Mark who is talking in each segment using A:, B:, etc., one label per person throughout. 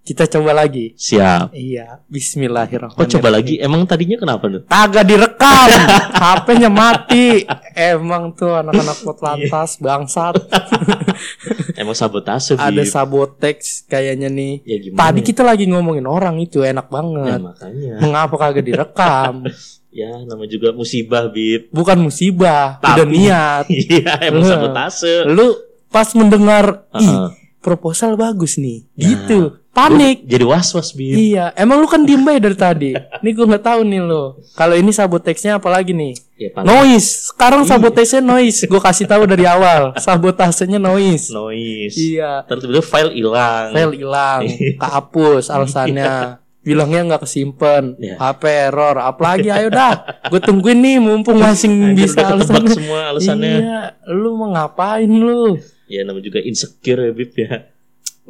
A: Kita coba lagi.
B: Siap.
A: Iya,
B: Kok
A: bismillahirrahmanirrahim.
B: coba lagi? Emang tadinya kenapa tuh?
A: Kagak direkam. HP-nya mati. Emang tuh anak-anak
B: Iya.
A: Potlantas bangsat.
B: Emang sabotase
A: Ada
B: Fib.
A: sabotex kayaknya nih.
B: Ya gimana?
A: Tadi kita lagi ngomongin orang itu enak
B: ya,
A: banget.
B: makanya.
A: Mengapa kagak direkam?
B: Ya, nama juga musibah, Bib.
A: Bukan musibah, udah
B: Tapi-
A: niat.
B: Iya, emang
A: Lah.
B: sabotase.
A: Lu pas mendengar ih,
B: Heeh.
A: proposal bagus nih.
B: Nah.
A: Gitu. Panik.
B: Gua Jadi was-was, Bib.
A: Iya, emang lu kan diem bae dari tadi. Nih gue nggak tahu nih lo. Kalau ini saboteksnya apalagi nih?
B: Ya, panik.
A: Noise. Sekarang
B: Iya.
A: sabotasenya noise. Gue kasih tahu dari awal. Sabotasenya noise.
B: Noise.
A: Iya.
B: Terus tiba-tiba file hilang.
A: File hilang, kehapus alasannya. Bilangnya nggak kesimpan,
B: Iya.
A: HP error, apalagi ayo dah. Gue tungguin nih, mumpung masih
B: Anjir,
A: bisa
B: udah ketebak
A: alasannya.
B: semua alasannya.
A: Iya, lu mau ngapain lu?
B: Ya, nama juga insecure ya, Bib ya.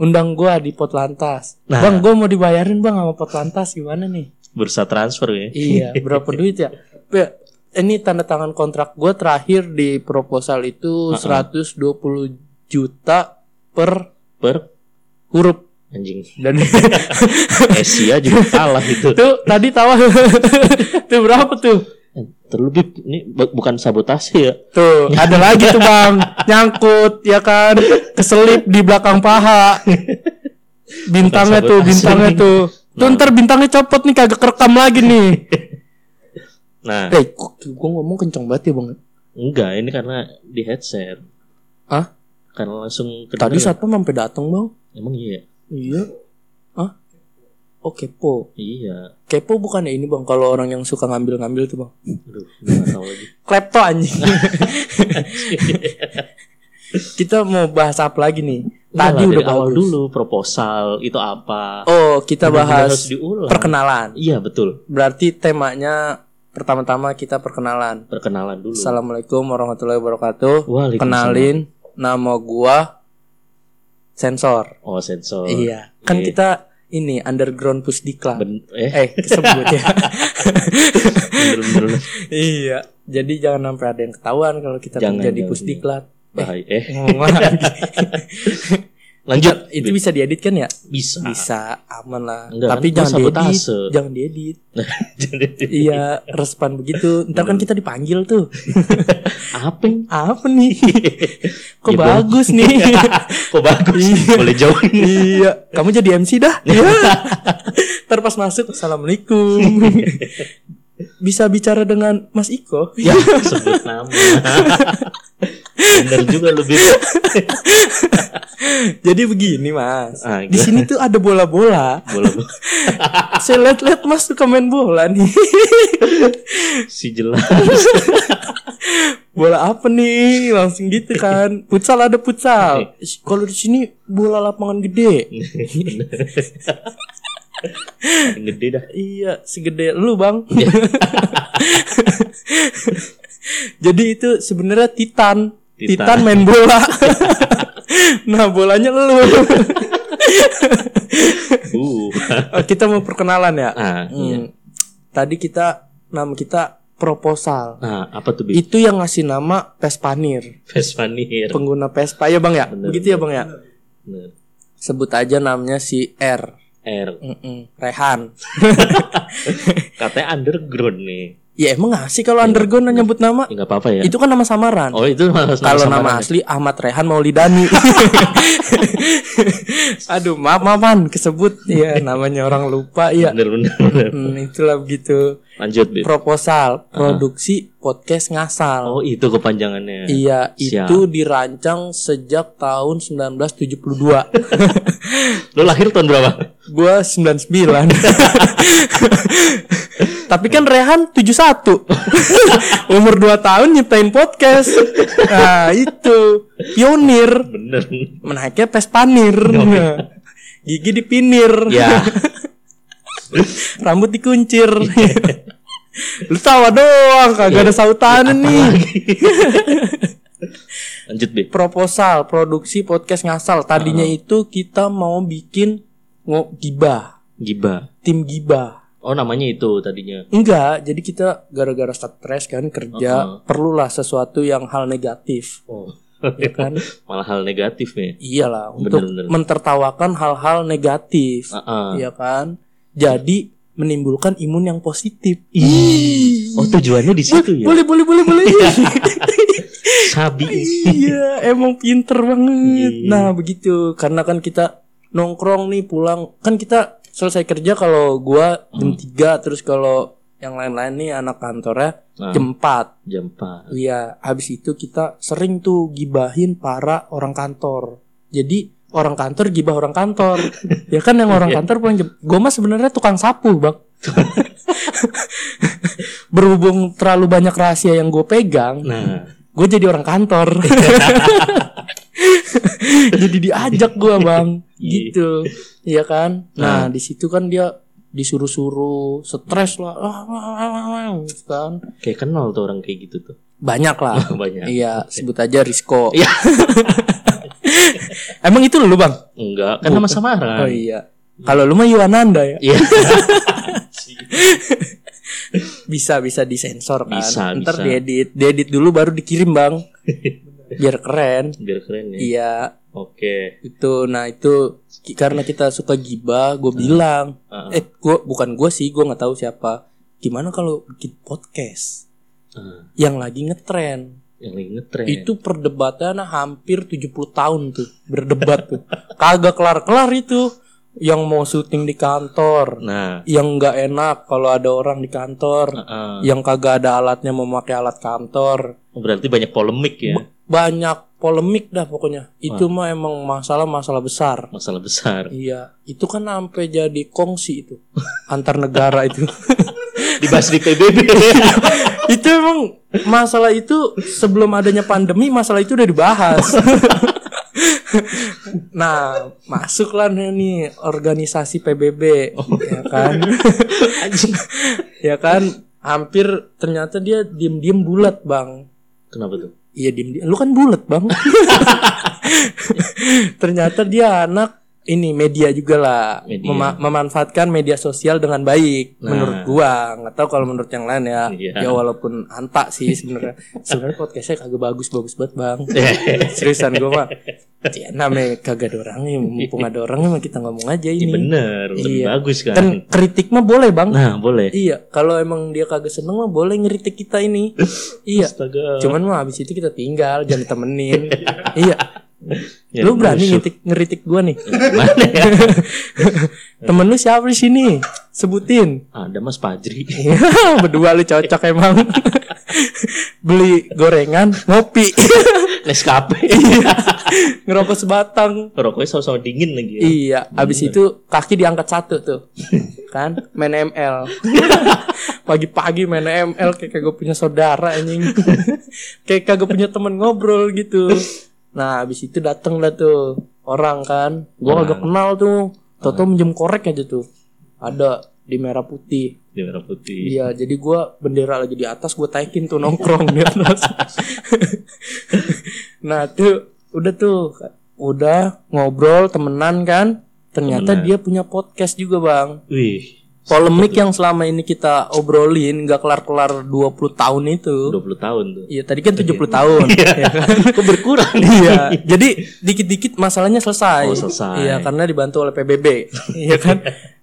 A: Undang gua di Potlantas.
B: Nah.
A: Bang, gua mau dibayarin bang sama Potlantas gimana nih?
B: Bursa transfer ya.
A: Iya, berapa duit ya? Be- Ini tanda tangan kontrak gue terakhir di proposal itu
B: Heeh.
A: 120 juta per
B: Per
A: huruf
B: anjing.
A: dan
B: Asia juga kalah gitu. itu.
A: itu tadi tawa itu berapa tuh?
B: Eh, Terlalu Bib, ini bu- bukan sabotase ya.
A: Tuh, ada lagi tuh Bang, nyangkut ya kan, keselip di belakang paha. Bintangnya tuh,
B: sabotase
A: bintangnya
B: nih.
A: tuh. Tuh
B: Nah.
A: ntar bintangnya copot nih kagak kerekam lagi nih.
B: Nah,
A: Eh, gue ngomong kenceng banget ya Bang.
B: enggak, ini karena di headset.
A: Hah?
B: Karena langsung
A: Tadi
B: kedengeran. ya?
A: satpam sampai datang Bang.
B: Emang iya.
A: Iya. Hah? Oh kepo.
B: Iya.
A: Kepo bukan ya ini bang. Kalau orang yang suka ngambil-ngambil tuh bang.
B: Aduh, gua nggak tahu lagi.
A: Klepto anjing. kita mau bahas apa lagi nih? Tadi
B: Iyalah, Iya dari
A: udah
B: awal
A: bagus.
B: dulu proposal itu apa?
A: Oh kita
B: Benar-benar harus
A: bahas
B: diulang.
A: perkenalan.
B: Iya, betul.
A: Berarti temanya pertama-tama kita perkenalan.
B: Perkenalan dulu.
A: Assalamualaikum warahmatullahi wabarakatuh.
B: Waalaikumsalam.
A: Kenalin nama gua sensor.
B: Oh, sensor.
A: iya. Kan
B: iya.
A: kita ini underground pusdiklat.
B: Ben eh,
A: Eh kesebut ya.
B: bener -bener.
A: Iya, jadi jangan sampai ada yang ketahuan kalau kita
B: Jangan,
A: menjadi
B: jangan.
A: pusdiklat.
B: Bahaya. Eh,
A: Ngomong lagi.
B: lanjut.
A: Nah, itu bisa diedit kan ya?
B: bisa.
A: Bisa, aman lah.
B: Ah. Enggak,
A: Tapi
B: kan
A: jangan
B: gua
A: diedit,
B: sabotase.
A: jangan diedit.
B: Jadi,
A: iya, respan begitu. Ntar
B: Iya.
A: kan kita dipanggil tuh.
B: apa? yang-
A: Apa nih? Kok
B: Ya, Bang.
A: bagus nih?
B: Iya. Kok bagus?
A: Iya.
B: Boleh jauhin.
A: iya, kamu jadi MC dah. Iya. Ntar pas masuk, assalamualaikum. bisa bicara dengan Mas Iko.
B: ya sebut nama bener juga lebih
A: Jadi begini Mas.
B: Ah,
A: Di
B: gimana?
A: sini tuh ada bola-bola.
B: boleh
A: Saya lihat-lihat mas suka main bola nih.
B: si jelas
A: bola apa nih? Langsung gitu kan. Futsal ada futsal. Sh, Kalau di sini bola lapangan gede.
B: gede dah
A: Iya, segede lu bang.
B: Iya.
A: Jadi itu sebenarnya Titan.
B: Titan.
A: Titan. main bola. nah bolanya lu.
B: uh
A: Oh, kita mau perkenalan ya.
B: ah iya
A: Hmm. Tadi kita nama kita proposal.
B: nah apa tuh bib
A: Itu yang ngasih nama Pespanir.
B: Vespa Nir
A: pengguna Vespa ya bang ya
B: Bener,
A: begitu ya bang ya
B: Bener.
A: sebut aja namanya si R
B: R
A: Mm-mm, Rehan
B: katanya underground nih
A: ya emang ngasih kalau underground nyebut nama
B: ya, nggak apa apa ya
A: itu kan nama samaran
B: oh itu malah
A: kalau nama
B: samaran ya?
A: asli Ahmad Rehan Maulidani aduh maaf maafan kesebut ya namanya orang lupa ya
B: bener bener, bener.
A: Hmm, itulah begitu
B: lanjut bib
A: proposal produksi podcast ngasal
B: oh itu kepanjangannya
A: Iya,
B: Siap.
A: itu dirancang sejak tahun 1972.
B: lo lahir tahun berapa
A: Gua 99 Tapi kan Rehan 71 Umur 2 tahun nyiptain podcast Nah itu Pionir
B: bener
A: Menaiknya pespanir Gigi dipinir
B: ya
A: Rambut dikuncir Lu tawa doang Kagak ada sautan nih
B: lanjut bib
A: Proposal produksi podcast ngasal Tadinya itu kita mau bikin ngo- Gibah
B: Giba
A: Tim Gibah
B: oh namanya itu tadinya
A: Enggak, jadi kita gara-gara stres kan kerja
B: Uh-uh.
A: perlulah sesuatu yang hal negatif.
B: oh
A: ya kan?
B: Malah hal negatif nih.
A: Iyalah
B: Bener,
A: untuk
B: bener. Uh-huh.
A: mentertawakan hal-hal negatif,
B: Heeh.
A: ya kan? Jadi menimbulkan imun yang positif.
B: Ih. Oh tujuannya di situ ya.
A: Boleh, boleh, boleh, boleh.
B: Sabi.
A: iya, emang pinter banget.
B: Iya.
A: Nah, begitu. Karena kan kita nongkrong nih pulang. Kan kita selesai kerja kalau gua
B: Uh-huh.
A: jam 3 terus kalau yang lain-lain nih anak kantornya
B: Nah,
A: jam 4.
B: jam 4.
A: Iya, habis itu kita sering tuh gibahin para orang kantor. Jadi orang kantor gibah orang kantor. ya kan yang orang
B: Iya.
A: kantor pulang jam gua mah sebenarnya tukang sapu, Bang. Berhubung terlalu banyak rahasia yang gue pegang,
B: Nah,
A: gue jadi orang kantor jadi diajak gue bang gitu Iya kan nah di situ kan dia disuruh-suruh stres lah gitu kan
B: kayak kenal tuh orang kayak gitu tuh.
A: banyak lah
B: Banyak.
A: iya sebut aja Risco
B: Ya, Iya.
A: emang itu lu bang
B: Enggak, kan nama samaran.
A: oh iya kalau lu mah Yuananda ya
B: Iya.
A: bisa bisa disensor kan
B: Bisa,
A: ntar
B: bisa.
A: diedit diedit dulu baru dikirim bang biar keren
B: Biar keren ya.
A: iya
B: Oke.
A: itu nah itu ki- karena kita suka gibah gue bilang
B: Ah,
A: eh gua bukan gue sih gue nggak tahu siapa gimana kalau bikin podcast
B: ah.
A: yang lagi ngetren
B: Yang lagi ngetren.
A: itu perdebatannya hampir 70 tahun tuh berdebat tuh kagak kelar-kelar itu yang mau syuting di kantor
B: Nah,
A: yang nggak enak kalau ada orang di kantor
B: ah,
A: yang kagak ada alatnya memakai alat kantor
B: ah. berarti banyak polemik ya.
A: banyak polemik dah pokoknya itu mah emang masalah-masalah besar
B: Masalah besar.
A: Iya, itu kan sampai jadi kongsi itu antar negara itu.
B: Dibahas di PBB.
A: itu emang masalah itu sebelum adanya pandemi masalah itu udah dibahas. nah, masuklah nih, nih organisasi PBB, ya kan?
B: Anjing.
A: ya kan? Hampir ternyata dia diem-diem bulat, Bang.
B: Kenapa tuh?
A: Iya diem diem. Lu kan bulat bang. Ternyata dia anak ini media juga lah
B: Media.
A: Mema- memanfaatkan media sosial dengan baik
B: Nah.
A: menurut gua nggak tahu kalau menurut yang lain ya ya
B: Iya.
A: walaupun anta sih sebenarnya sebenarnya podcastnya kagak bagus bagus banget bang
B: Iya.
A: seriusan gua mah ya, namanya kagak ada orangnya mumpung ada orangnya mah kita ngomong aja
B: Iya
A: ini
B: bener, lebih
A: Iya.
B: bagus kan.
A: dan kritik mah boleh bang
B: nah, boleh.
A: iya kalau emang dia kagak seneng mah boleh ngeritik kita ini iya
B: Astaga.
A: Cuman mah abis itu kita tinggal, jangan temenin. iya.
B: Ya,
A: lu berani gitu.
B: musuh.
A: ngeritik, ngeritik gua nih.
B: Mana ya?
A: Temen lu siapa di sini? Sebutin.
B: Ada Mas Pajri.
A: Berdua lu cocok emang. Beli gorengan, ngopi, Iya.
B: Nescafe.
A: ngerokok sebatang.
B: Rokoknya sama-sama dingin lagi ya.
A: Iya, abis itu kaki diangkat satu tuh. Kan main ML. Pagi-pagi main ML kayak kagak punya saudara anjing. kayak kagak punya temen ngobrol gitu. Nah, abis itu dateng lah tuh orang kan. Gua kagak kenal tuh. Toto minjem korek aja tuh. Ada di merah putih.
B: Di merah putih.
A: Iya, jadi gua bendera lagi di atas, gue taikin tuh nongkrong di atas. nah, tuh udah tuh, udah ngobrol temenan kan. Ternyata
B: Temenan.
A: dia punya podcast juga, Bang.
B: Wih,
A: Polemik yang selama ini kita obrolin nggak kelar-kelar 20 tahun itu.
B: 20 tahun tuh.
A: Iya, tadi kan 70 tahun. ya kan?
B: Kok berkurang?
A: Iya, jadi dikit-dikit masalahnya selesai.
B: Oh, selesai.
A: Iya, karena dibantu oleh PBB. Iya kan?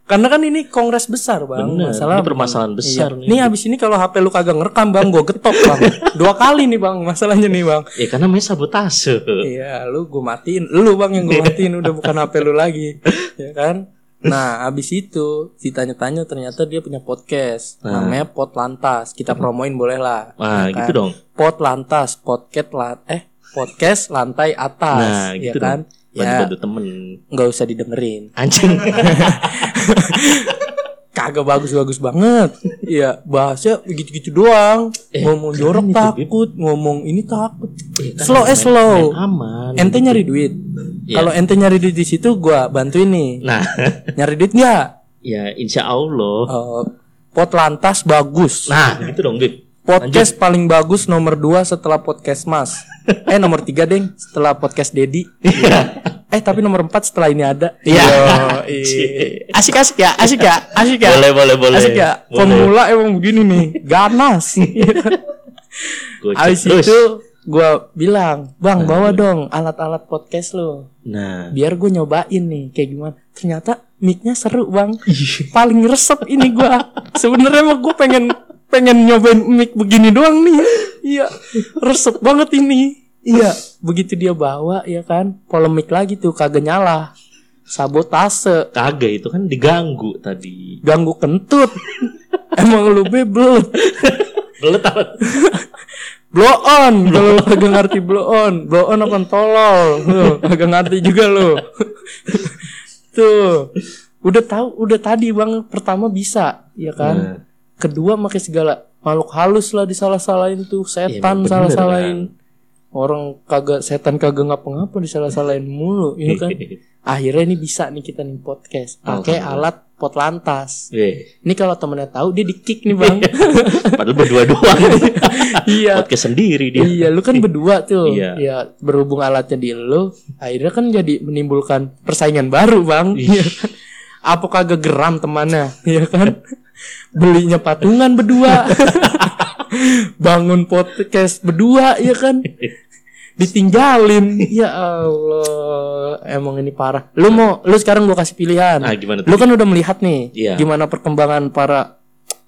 A: Karena kan ini kongres besar, Bang.
B: Bener,
A: Masalah
B: ini permasalahan besar
A: Iya.
B: nih.
A: Nih abis ini kalau HP lu kagak ngerekam bang, gue getok bang. Dua kali nih bang, masalahnya nih bang.
B: Ya karena namanya sabotase.
A: Iya, lu gue matiin, lu bang yang
B: Iya.
A: gue matiin udah bukan HP lu lagi, ya kan? Nah, abis itu ditanya-tanya ternyata dia punya podcast, namanya Pot Lantas. Kita promoin boleh lah. ya
B: Nah,
A: kan?
B: gitu dong.
A: Pot Lantas, podcast lan, eh podcast lantai atas,
B: Nah,
A: ya
B: gitu
A: kan?
B: dong.
A: Ya,
B: Bantu-bantu temen.
A: nggak usah didengerin.
B: Anjing.
A: kagak bagus-bagus banget. Iya, bahasnya begitu-gitu doang. ngomong jorok
B: Eh, keren itu,
A: takut, ngomong ini takut.
B: Ya, kan
A: slow eh
B: main-
A: slow.
B: main aman.
A: Ente nyari duit.
B: Iya.
A: Kalau ente nyari duit di situ gua bantuin nih.
B: Nah,
A: Nyari duit nggak?
B: ya insya Allah.
A: Eh, pot lantas bagus.
B: Nah, gitu dong, Bib.
A: podcast paling bagus nomor 2 setelah podcast Mas. eh nomor 3 deng setelah podcast Dedi. eh tapi nomor 4 setelah ini ada.
B: Iya.
A: Yoi. Asik-asik ya, asik ya, asik ya.
B: Boleh, boleh, boleh.
A: Asik ya,
B: Boleh.
A: pemula emang begini nih, ganas.
B: Gocek
A: Abis
B: terus.
A: itu gua bilang, "Bang, bawa dong alat-alat podcast lo.
B: Nah,
A: Biar gue nyobain nih kayak gimana." Ternyata mic-nya seru, Bang. Paling resep ini gua. Sebenarnya mah gue pengen pengen nyobain mic begini doang nih. Iya, resep banget ini. Iya, begitu dia bawa ya kan, polemik lagi tuh kagak nyala. Sabotase,
B: kagak itu kan diganggu tadi.
A: ganggu kentut. Emang lu bebel.
B: Belet apa?
A: Blow on kalau lu kagak ngerti blow on. Blow on apa tolol. Lu kagak ngerti juga lu. Tuh. Udah tahu udah tadi Bang pertama bisa, ya kan?
B: Nah,
A: Kedua pakai segala makhluk halus lah disalah-salahin tuh,
B: iya,
A: setan
B: bener
A: salah-salahin. Orang kagak setan kagak ngapa-ngapa disalah-salahin mulu, ya kan? Akhirnya ini bisa nih kita nih podcast pakai
B: Alhamdulillah.
A: alat pot lantas.
B: Eh,
A: Ini kalau temennya tahu dia di kick nih, Bang.
B: Iya. padahal berdua doang.
A: Iya.
B: Podcast sendiri dia.
A: Iya, lu kan berdua tuh.
B: Iya.
A: Ya, berhubung alatnya di lu, akhirnya kan jadi menimbulkan persaingan baru, Bang.
B: Iya.
A: Apa kagak geram temannya, ya kan? Belinya patungan berdua. Bangun podcast berdua, ya kan? Ditinggalin. Ya Allah, emang ini parah. Lu mau lu sekarang gua kasih pilihan.
B: Nah, gimana
A: Lu
B: tadi?
A: kan udah melihat nih
B: Iya.
A: gimana perkembangan para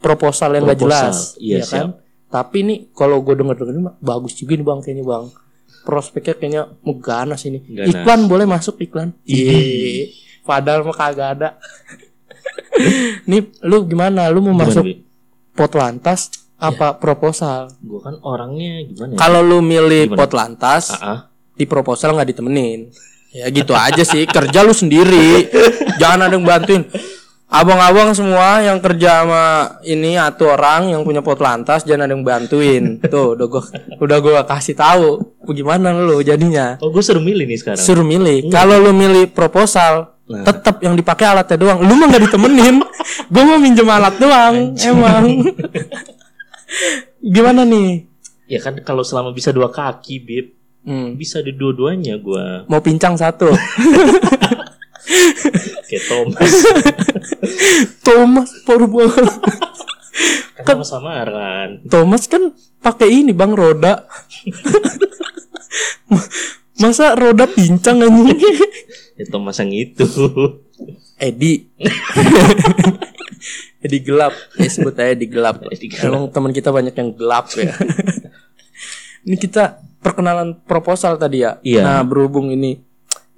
A: proposal yang nggak
B: Proposal,
A: jelas, ya
B: iya,
A: kan? Tapi nih kalau gue denger denger bagus juga nih bang kayaknya bang. Prospeknya kayaknya ganas ini.
B: Ganas.
A: Iklan boleh masuk iklan?
B: Ih.
A: Iya. Padahal mah kagak ada. nih lu gimana? Lu mau
B: Gimana, Iya.
A: masuk
B: Bi?
A: pot lantas apa proposal?
B: Gua kan orangnya gimana ya?
A: Kalau lu milih
B: Gimana?
A: pot lantas,
B: Ah, ah.
A: di proposal nggak ditemenin ya gitu aja sih kerja lu sendiri jangan ada yang bantuin abang-abang semua yang kerja sama ini atau orang yang punya pot lantas jangan ada yang bantuin tuh udah gua udah gua kasih tahu gimana lu jadinya
B: Oh, gue suruh milih nih sekarang.
A: suruh milih kalau lu milih proposal tetap yang dipakai alatnya doang lu mah nggak ditemenin gua mau minjem alat doang emang gimana nih
B: Ya kan kalau selama bisa dua kaki, Bib,
A: Hmm,
B: bisa di dua-duanya gua
A: mau pincang satu
B: kayak Thomas
A: Thomas Purbo
B: kan sama samaran
A: Thomas kan pakai ini bang roda. Ma- Masa roda pincang anjing?
B: ya Thomas yang itu
A: Edi. Edi gelap. Ya sebut aja Edi gelap.
B: Edi gelap.
A: Emang teman kita banyak yang gelap ya. ini kita perkenalan proposal tadi ya.
B: Iya.
A: Nah, berhubung ini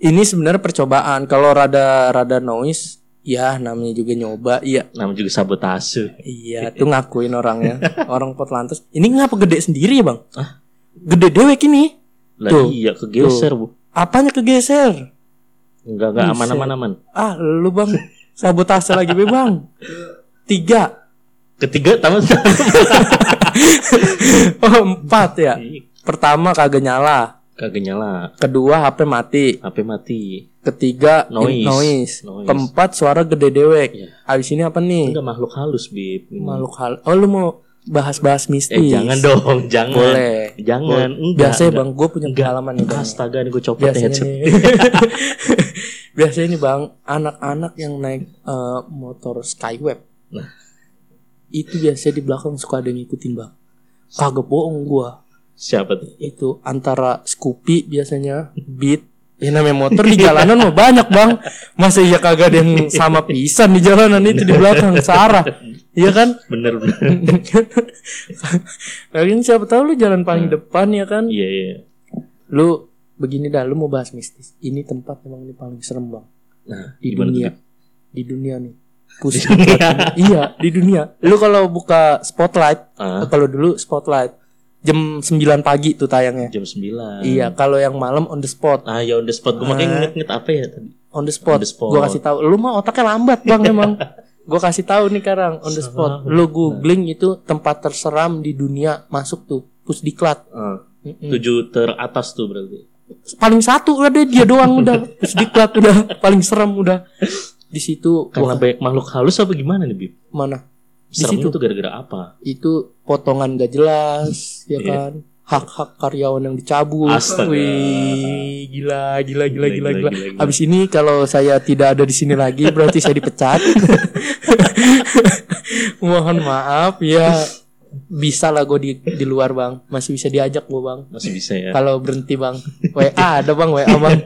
A: ini sebenarnya percobaan. Kalau rada rada noise, ya namanya juga nyoba. Iya,
B: namanya juga sabotase
A: Iya, tuh ngakuin orangnya. Orang pot lantas. Ini ngapa gede sendiri ya, Bang?
B: Hah?
A: Gede dewek ini.
B: lah
A: Tuh.
B: iya kegeser bu
A: Apanya kegeser?
B: enggak enggak aman
A: Geser.
B: aman aman
A: Ah, lu Bang. Sabotase lagi be, Bang. Tiga.
B: ketiga tamat
A: Oh, empat ya. Pertama kagak nyala.
B: kagak nyala
A: Kedua HP mati.
B: HP mati
A: Ketiga in-
B: Noise.
A: noise.
B: Noise.
A: Keempat suara gede dewek.
B: Iya.
A: Abis ini apa nih?
B: enggak makhluk halus bib Ini.
A: Makhluk hal. Oh, lu mau bahas-bahas mistis.
B: eh jangan dong jangan
A: Boleh.
B: jangan enggak
A: Biasanya
B: enggak.
A: Bang, gue punya
B: Enggak.
A: pengalaman nih, Bang.
B: astaga ini gue copot ya,
A: biasanya
B: headset
A: nih biasanya nih bang anak-anak yang naik eh, motor skyweb
B: Nah.
A: itu biasanya di belakang suka ada yang ngikutin bang kagak bohong gua
B: siapa tuh
A: itu antara Scoopy biasanya Beat ya namanya motor di jalanan mah banyak bang masa iya kagak ada yang sama pisan di jalanan itu di belakang Sarah iya kan
B: bener bener
A: Lagian siapa tahu lu jalan paling depan ya kan
B: iya iya
A: lu begini dah lu mau bahas mistis ini tempat emang ini paling serem bang
B: nah
A: di
B: gimana
A: dunia
B: tuh, Bib?
A: di dunia nih pusat perhatian. iya di dunia lu kalau buka spotlight
B: Ah,
A: kalau dulu spotlight jam 9 pagi tuh tayangnya
B: jam 9
A: iya kalau yang malam on the spot
B: ah ya on the spot gue
A: Ah.
B: makanya nginget-nginget apa ya tadi
A: on the spot,
B: On the spot.
A: gua kasih tahu lu mah otaknya lambat bang emang gua kasih tahu nih sekarang on the spot lu googling itu tempat terseram di dunia masuk tuh pusdiklat
B: Ah.
A: Mm-mm.
B: tujuh teratas tuh berarti
A: paling satu udah dia doang udah pusdiklat udah paling serem udah di situ
B: karena
A: gua
B: banyak makhluk halus apa gimana nih Bib?
A: mana Di
B: Seremnya
A: situ.
B: tuh gara-gara apa?
A: itu potongan gak jelas ya
B: Iya.
A: kan hak-hak karyawan yang dicabut
B: Astaga.
A: Wih, gila gila gila gila
B: Gila, gila,
A: gila
B: gila, gila.
A: abis ini kalau saya tidak ada di sini lagi berarti saya dipecat mohon maaf ya bisa lah gue di di luar bang masih bisa diajak gue bang
B: Masih bisa ya.
A: kalau berhenti bang WA ada bang WA bang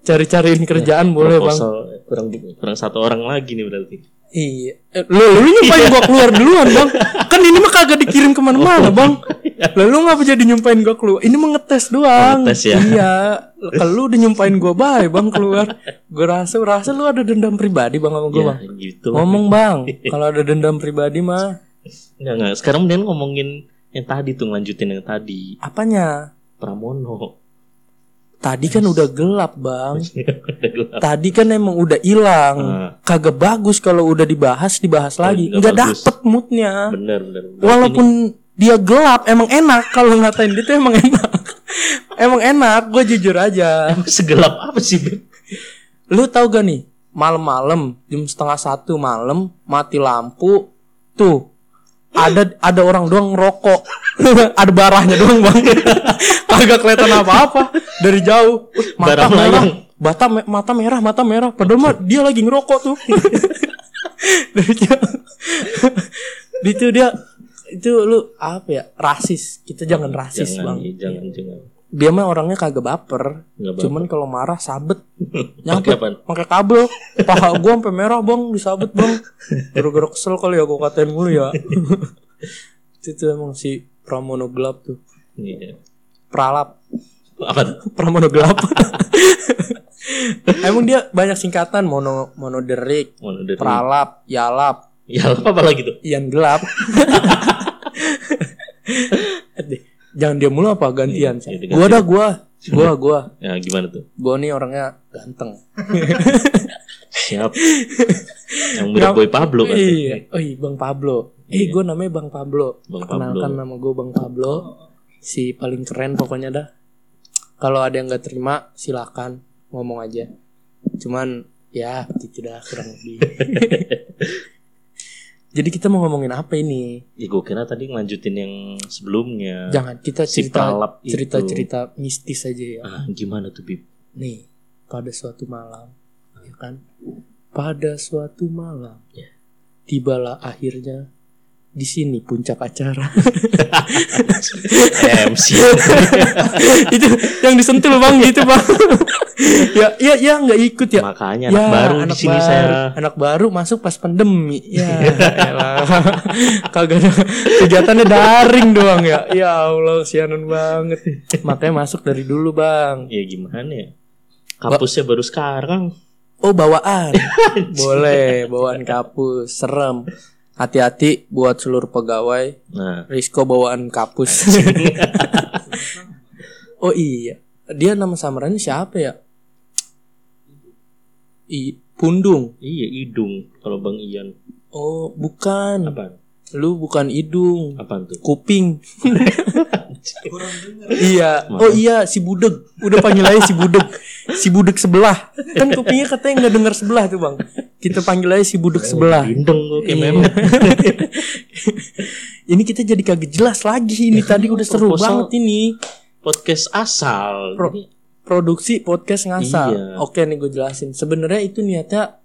A: cari-cariin kerjaan boleh bang
B: Proposal kurang kurang satu orang lagi nih berarti.
A: iya Eh, lu lu nyumpain
B: Iya.
A: gue keluar duluan bang kan ini mah kagak dikirim kemana-mana
B: Oh.
A: bang lalu ngapa jadi nyumpain gue keluar ini mah ngetes doang
B: Ngetes ya.
A: iya kalau lu udah nyumpain gue bye bang keluar gue rasa rasa lu ada dendam pribadi bang sama gue
B: Ya,
A: bang
B: gitu.
A: ngomong bang kalau ada dendam pribadi mah
B: Enggak, enggak. Sekarang mendingan ngomongin yang tadi tuh ngelanjutin yang tadi
A: apanya
B: Pramono.
A: tadi kan udah gelap bang
B: Udah gelap.
A: tadi kan emang udah hilang
B: Ah. Iya,
A: kagak bagus kalau udah dibahas dibahas lagi
B: nggak
A: nggak
B: bagus.
A: dapet moodnya
B: bener bener. bener.
A: walaupun dia gelap emang enak kalau ngatain dia tuh emang enak emang enak gue jujur aja
B: Ini segelap apa sih? Beb?
A: lu tau gak nih malam-malam jam setengah satu malam mati lampu tuh ada ada orang doang ngerokok ada barahnya doang bang kagak kelihatan apa-apa dari jauh Wih, mata
B: Barang
A: merah
B: layang.
A: bata me- mata merah mata merah padahal mah dia lagi ngerokok tuh dari jauh itu dia itu lu apa ya rasis kita jangan rasis bang
B: jangan, ya, jangan jangan.
A: dia mah orangnya kagak baper
B: Nggak baper.
A: cuman kalau marah sabet
B: Pakai
A: nyabet
B: apaan?
A: pakai kabel paha gua sampai merah bang disabet bang gara-gara kesel kali ya gua katain mulu ya itu tuh emang si Pramono gelap tuh
B: Iya.
A: pralap
B: Apa? tuh?
A: Pramono gelap emang dia banyak singkatan mono monoderik
B: Mana dari?
A: pralap yalap
B: Ya apa apa lagi tuh?
A: yang gelap Aduh, jangan dia mulu apa gantian
B: Iya, iya,
A: gua dah gua gua gua
B: Ya gimana tuh?
A: gua nih orangnya ganteng
B: Siap. yang mirip
A: Yang-
B: Boy Pablo kan?
A: Iya. Oh iya, Bang Pablo. Eh, gue namanya Bang Pablo.
B: Bang
A: Kenalkan
B: Pablo. Oh,
A: nama gue Bang Pablo. Si paling keren pokoknya dah. Kalau ada yang nggak terima, silakan ngomong aja. Cuman ya gitu dah kurang lebih. Jadi kita mau ngomongin apa ini?
B: Ya gue kira tadi ngelanjutin yang sebelumnya.
A: Jangan kita
B: Eh, si
A: cerita
B: pralap itu.
A: cerita-cerita mistis aja ya.
B: Ah, gimana tuh Bib?
A: Nih, pada suatu malam, ya kan? Pada suatu malam,
B: Ya.
A: tibalah akhirnya di sini puncak acara.
B: MC.
A: itu yang disentil bang gitu bang. ya, ya, ya nggak ikut ya.
B: Makanya
A: ya,
B: anak baru di
A: anak
B: sini Iya,
A: baru.
B: saya.
A: Anak baru masuk pas pandemi. Ya, elah. kagak ada kegiatannya daring doang ya. Ya Allah, sianan banget. Makanya masuk dari dulu bang.
B: Ya gimana ya? Kampusnya baru sekarang.
A: Oh bawaan Boleh Bawaan kapus Serem Hati-hati Buat seluruh pegawai
B: Nah,
A: Risiko bawaan kapus Oh iya Dia nama samarannya siapa ya I Pundung
B: iya hidung kalau Bang Ian.
A: Oh bukan
B: Apaan?
A: Lu bukan hidung
B: Apaan tuh?
A: Kuping Iya Oh iya si Budeg Udah panggil aja si Budeg Si Budeg sebelah Kan kupingnya katanya nggak dengar sebelah tuh bang Kita panggil aja si Budeg sebelah
B: Bindeng gue kayak
A: Iya.
B: meme.
A: ini kita jadi kagak jelas lagi ini tadi udah seru
B: Ya kan, proposal-
A: banget ini
B: Podcast asal.
A: Pro-
B: Jadi,
A: produksi podcast ngasal.
B: Iya.
A: Oke nih gue jelasin. Sebenarnya itu niatnya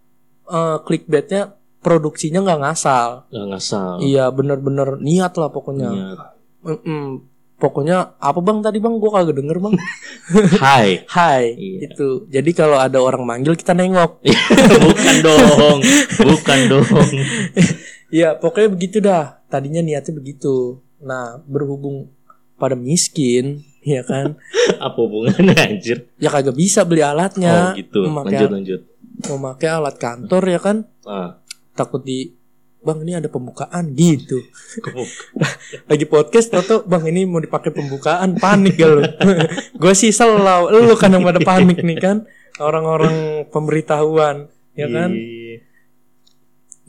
A: eh, clickbaitnya produksinya nggak ngasal.
B: nggak ngasal. Iya.
A: Iya bener-bener niat lah pokoknya.
B: Niat.
A: Mm-mm. Pokoknya apa bang tadi bang gue kagak denger bang.
B: Hai.
A: Hai
B: Iya.
A: itu. Jadi kalau ada orang manggil kita nengok.
B: Bukan dong. Bukan dong.
A: Iya pokoknya begitu dah. Tadinya niatnya begitu. Nah berhubung pada miskin, ya kan?
B: Apa hubungannya anjir?
A: ya kagak bisa beli
B: oh
A: alatnya
B: gitu. Lanjut
A: memakai
B: lanjut.
A: memakai alat kantor ya kan
B: Ah,
A: takut di bang ini ada pembukaan gitu
B: kebuk.
A: lagi podcast toto bang ini mau dipakai pembukaan panik gak lu gue sih selalu lu kan yang pada panik nih kan orang-orang pemberitahuan ya kan
B: Iya.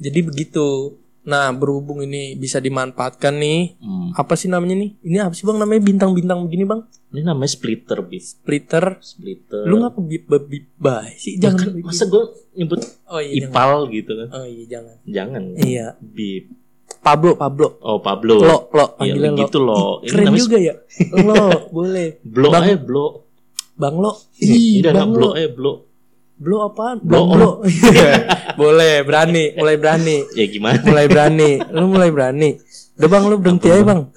A: jadi begitu nah berhubung ini bisa dimanfaatkan nih
B: Hmm.
A: apa sih namanya nih ini apa sih bang namanya bintang-bintang begini bang
B: Ini namanya splitter, bis.
A: splitter
B: Splitter.
A: lu ngapa bip bip bye sih
B: Jangan
A: jangan
B: Eh. masa gue nyebut
A: oh iya jangan.
B: ipal gitu kan?
A: oh iya jangan
B: Jangan.
A: Iya.
B: Bip.
A: Pablo, Pablo.
B: Oh Pablo.
A: Lo, lo,
B: Iya,
A: panggilnya lo.
B: gitu lo. Ini
A: Keren
B: namanya
A: juga ya. Lo, boleh.
B: Blo
A: Bang.
B: eh blo.
A: Bang lo. Ih,
B: Udah
A: bang
B: nggak blo
A: lo.
B: eh blo.
A: Blo apaan?
B: Blo
A: Bang lo. boleh, berani, mulai berani,
B: Ya gimana?
A: mulai berani. Lu mulai berani. Udah bang lu berhenti aja bang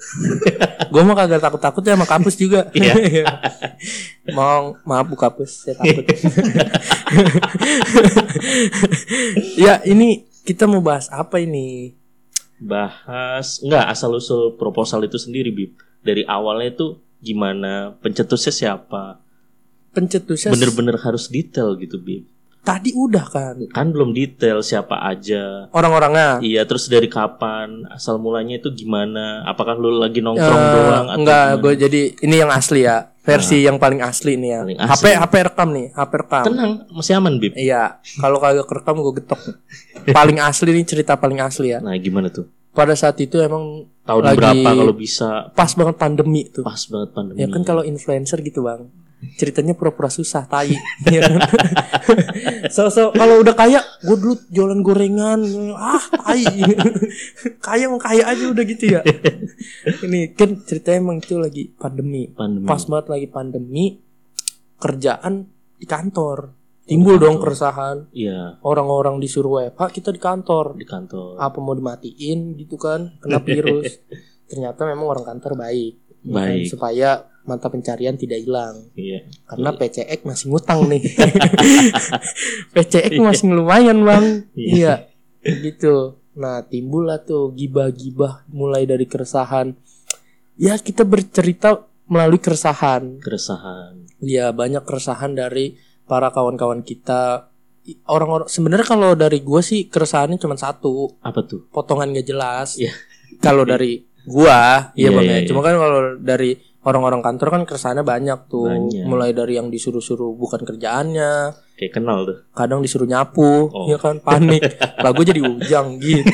A: Gue mau kagak takut-takutnya sama kapus juga
B: Iya.
A: Mau maaf bu kapus Saya takut Ya ini kita mau bahas apa ini
B: bahas nggak asal usul proposal itu sendiri bib dari awalnya itu gimana pencetusnya siapa
A: Pencetusnya
B: bener-bener harus detail gitu bib
A: Tadi udah kan
B: kan belum detail siapa aja
A: Orang-orangnya
B: iya terus dari kapan asal mulanya itu gimana apakah lu lagi
A: Eh,
B: nongkrong doang atau
A: Enggak
B: gimana? Nah.
A: gue jadi Ini yang asli ya Versi yang paling asli nih ya
B: Paling
A: HP,
B: asli. Kan-
A: HP rekam nih HP rekam
B: tenang masih aman bib
A: Iya, kalau kagak kerekam gue getok. Paling asli nih cerita paling asli ya.
B: nah gimana tuh
A: Pada saat itu emang
B: tahun
A: Lagi-
B: berapa kalau bisa
A: pas banget pandemi tuh.
B: pas banget pandemi
A: Ya kan kalau influencer gitu bang, ceritanya pura-pura susah tai. Iya kan? so, so kalau udah kaya, gue dulu jualan gorengan, ah tai. kaya mau kaya aja udah gitu ya. Ini kan ceritanya emang itu lagi pandemi.
B: pandemi
A: Pas banget lagi pandemi, kerjaan di kantor. Timbul dong
B: Oh, Kantor.
A: keresahan.
B: iya
A: orang-orang disuruh WFH kita di kantor
B: di kantor
A: apa mau dimatiin gitu kan kena virus ternyata memang orang kantor baik ya kan?
B: Baik.
A: supaya mata pencarian tidak hilang
B: iya
A: karena PCX masih ngutang nih
B: Iya.
A: PCX masih lumayan bang iya gitu nah timbul lah tuh gibah-gibah mulai dari keresahan ya kita bercerita melalui keresahan
B: keresahan
A: Iya banyak keresahan dari para kawan-kawan kita I- orang-orang sebenarnya kalau dari gue sih keresahannya cuma satu
B: apa tuh
A: potongan gak jelas
B: Iya.
A: kalau dari gua iya
B: Iya,
A: bang
B: iya,
A: ya.
B: iya.
A: cuma kan kalau dari orang-orang kantor kan keresahannya banyak tuh
B: Banyak.
A: mulai dari yang disuruh-suruh bukan kerjaannya
B: kayak kenal tuh
A: kadang disuruh nyapu
B: Oh.
A: ya kan panik lah gue jadi ujang gitu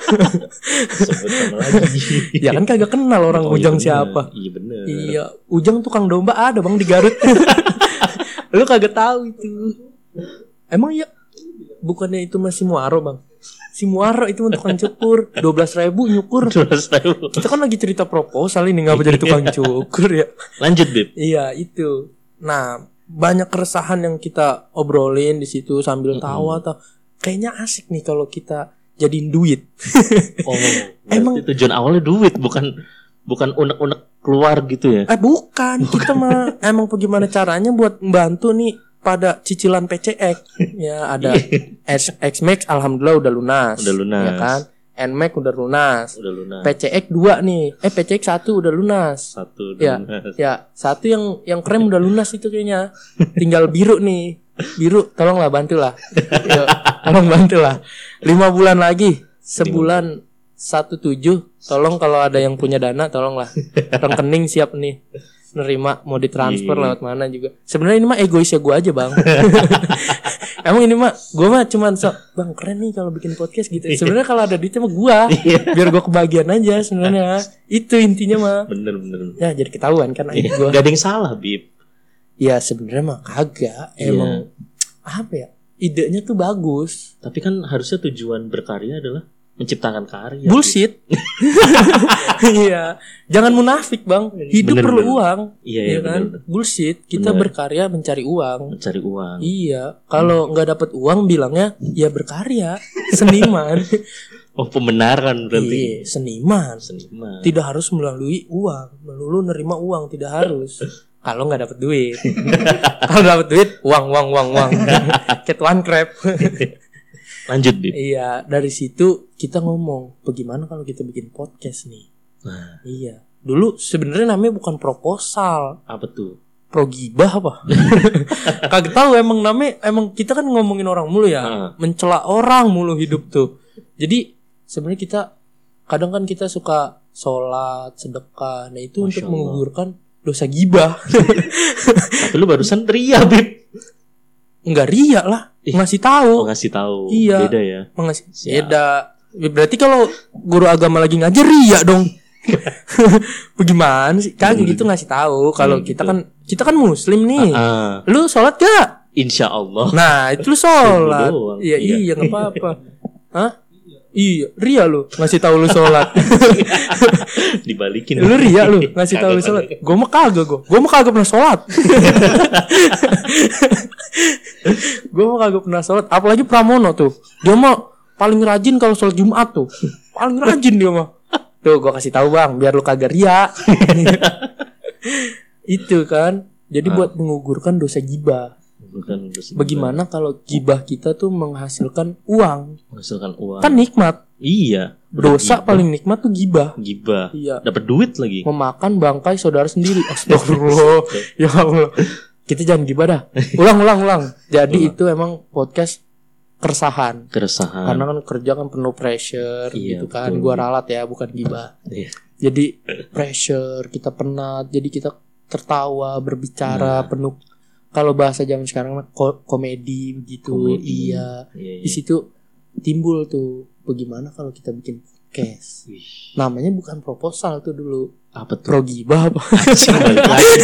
B: sebutan lagi
A: ya kan kagak kenal orang
B: Oh, iya
A: ujang
B: bener.
A: siapa
B: iya bener
A: Iya, Ujang tukang domba ada bang di Garut. Lu kagak tahu itu. Emang ya, bukannya itu masih Muaro bang? Si Muaro itu mah tukang cukur, dua belas ribu nyukur.
B: Terus tahu.
A: Kita kan lagi cerita proposal ini ngapa jadi tukang cukur ya?
B: Lanjut Bib.
A: Iya itu. Nah banyak keresahan yang kita obrolin di situ sambil
B: Mm-mm.
A: tawa atau kayaknya asik nih kalau kita jadiin duit.
B: Oh,
A: Emang-
B: emang tujuan awalnya duit bukan bukan unek-unek keluar gitu ya.
A: Eh bukan, kita mah emang bagaimana caranya buat membantu nih pada cicilan PCX. Ya ada S- XMax alhamdulillah udah lunas.
B: Iya. Udah lunas.
A: Ya kan? NMAX udah lunas.
B: Udah lunas.
A: PCX 2 nih. Eh PCX 1 udah lunas.
B: Satu udah
A: Iya.
B: lunas.
A: Ya, satu yang yang krem udah lunas itu kayaknya. Tinggal biru nih. Biru tolonglah bantulah. Yuk, tolong bantulah. Lima bulan lagi, sebulan satu tujuh. Tolong kalau ada yang punya dana, tolonglah. Rekening siap nih nerima mau ditransfer
B: Iya.
A: lewat mana juga. Sebenarnya ini mah egoisnya gue aja bang. Emang ini mah gue mah cuman sok bang keren nih kalau bikin podcast gitu. Sebenarnya kalau ada duitnya mah gue,
B: Iya.
A: biar gue kebagian aja sebenarnya. Itu intinya mah.
B: Bener bener.
A: Ya jadi ketahuan kan aib
B: Iya.
A: gue.
B: Gak ada yang salah Bib.
A: Ya sebenarnya mah kagak
B: Iya.
A: emang apa ya idenya tuh bagus
B: Tapi kan harusnya tujuan berkarya adalah menciptakan karya. Bib.
A: bullshit iya jangan munafik bang hidup
B: Bener,
A: perlu
B: bener.
A: uang
B: Iya,
A: ya
B: iya
A: kan
B: bener, bener.
A: bullshit kita
B: Bener.
A: berkarya mencari uang
B: Mencari uang.
A: iya kalau nggak dapat uang bilangnya ya berkarya seniman
B: Oh, pembenaran
A: iya
B: berarti.
A: seniman
B: Seniman.
A: tidak harus melalui uang melulu nerima uang tidak harus kalau nggak dapat duit kalau dapat duit uang uang uang uang cat one crab
B: Lanjut Bib.
A: Iya, dari situ kita ngomong, bagaimana kalau kita bikin podcast nih?
B: Nah,
A: Iya. Dulu sebenarnya namanya bukan proposal,
B: apa tuh?
A: progibah apa? Kagak tahu emang namanya emang kita kan ngomongin orang mulu ya,
B: Ah,
A: mencela orang mulu hidup tuh. Jadi sebenarnya kita kadang kan kita suka sholat, sedekah. Nah, itu
B: Masya
A: untuk
B: Allah.
A: menggugurkan dosa gibah.
B: tapi lu barusan teriak Bib.
A: Enggak ria lah,
B: Ih.
A: ngasih
B: Oh,
A: tahu,
B: ngasih tahu.
A: Iya.
B: Beda ya.
A: mengasih.
B: Siap.
A: Beda. Berarti kalau guru agama lagi ngajar ria dong. Bagaimana sih? Kan
B: Hmm.
A: gitu ngasih tahu kalau
B: Hmm,
A: kita
B: gitu.
A: kan kita kan muslim nih.
B: Ah,
A: Lu sholat gak?
B: insya Allah.
A: Nah, itu lu sholat.
B: Lu Oh. doang.
A: Iya,
B: Iya.
A: iya nggak apa-apa. Hah? Iya, ria lu ngasih tahu lu sholat.
B: Dibalikin.
A: lu ria lu ngasih tahu lu
B: Kagak,
A: sholat. Gua mah kagak gua. Gua mah kagak pernah sholat. gua mah kagak pernah sholat. Apalagi Pramono tuh. Dia mah paling rajin kalau sholat Jumat tuh. Paling rajin dia mah. Tuh gua kasih tahu bang, biar lu kagak ria. itu kan. Jadi
B: Ah.
A: buat mengugurkan dosa gibah.
B: Bukan dosa gibah.
A: Gitu. Bagaimana kalau gibah kita tuh menghasilkan uang?
B: menghasilkan uang
A: Kan nikmat.
B: iya
A: Dosa
B: Bergibah.
A: paling nikmat tuh gibah.
B: gibah
A: Iya.
B: dapat duit lagi
A: Memakan bangkai saudara sendiri. Astagfirullah.
B: Oke.
A: ya Allah. Kita jangan gibah dah. Ulang ulang ulang. Jadi
B: Ulang.
A: itu emang podcast keresahan.
B: keresahan
A: Karena kan kerja kan penuh pressure
B: Ah. Iya,
A: gitu kan.
B: betul.
A: Gua ralat ya, bukan gibah.
B: Iya.
A: Jadi pressure, kita penat, jadi kita tertawa, berbicara,
B: Nah.
A: penuh kalau bahasa zaman sekarang mah ko- komedi gitu.
B: Komedi.
A: Iya.
B: Iya,
A: Di
B: iya.
A: situ timbul tuh bagaimana kalau kita bikin podcast.
B: Wih,
A: Namanya bukan proposal tuh dulu.
B: apa tuh
A: Pro gibah apa?
B: Anjing, balik lagi.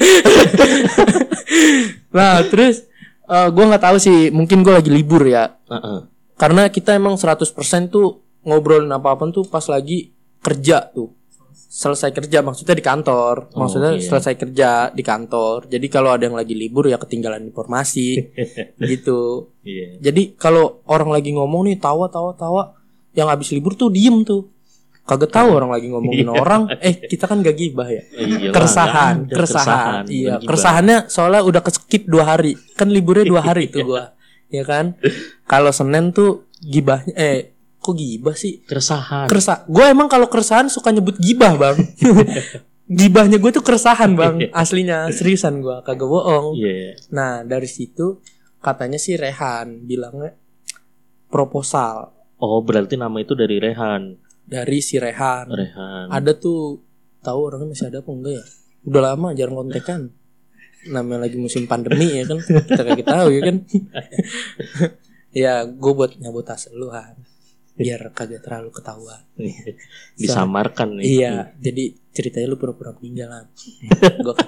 A: Nah, terus eh, gua nggak tahu sih, mungkin gua lagi libur ya.
B: Heeh.
A: Karena kita emang 100% tuh ngobrolin apa-apa tuh pas lagi kerja tuh. Selesai kerja maksudnya di kantor.
B: Oh,
A: Maksudnya
B: iya.
A: selesai kerja di kantor. Jadi kalau ada yang lagi libur ya ketinggalan informasi gitu.
B: Iya.
A: Jadi kalau orang lagi ngomong nih tawa tawa tawa yang habis libur tuh diem tuh. Kagak tahu orang lagi ngomongin
B: Iya.
A: orang, eh kita kan gak gibah ya.
B: Iya,
A: Keresahan,
B: nggak ada
A: keresahan.
B: bukan
A: Iya,
B: gibah.
A: keresahannya soalnya udah keskip dua hari. Kan liburnya dua hari tuh gua. Ya kan? Kalau Senin tuh gibahnya eh kok gibah sih?
B: keresahan
A: Kersa. Gua emang kalau keresahan suka nyebut gibah, Bang. Gibahnya gue tuh keresahan, Bang. Aslinya seriusan gua, kagak bohong.
B: Iya.
A: Nah, dari situ katanya sih Rehan bilangnya proposal
B: oh berarti nama itu dari Rehan
A: dari si Rehan.
B: Rehan
A: Ada tuh tahu orangnya masih ada apa enggak ya? Udah lama jarang kontekan. Namanya lagi musim pandemi ya kan. Kita kagak tahu ya kan. ya, gue buat nyabut tas lu Han. Biar kagak terlalu ketahuan.
B: Iya. disamarkan nih
A: Iya, jadi ceritanya lu pura-pura meninggal Han. Gua- kan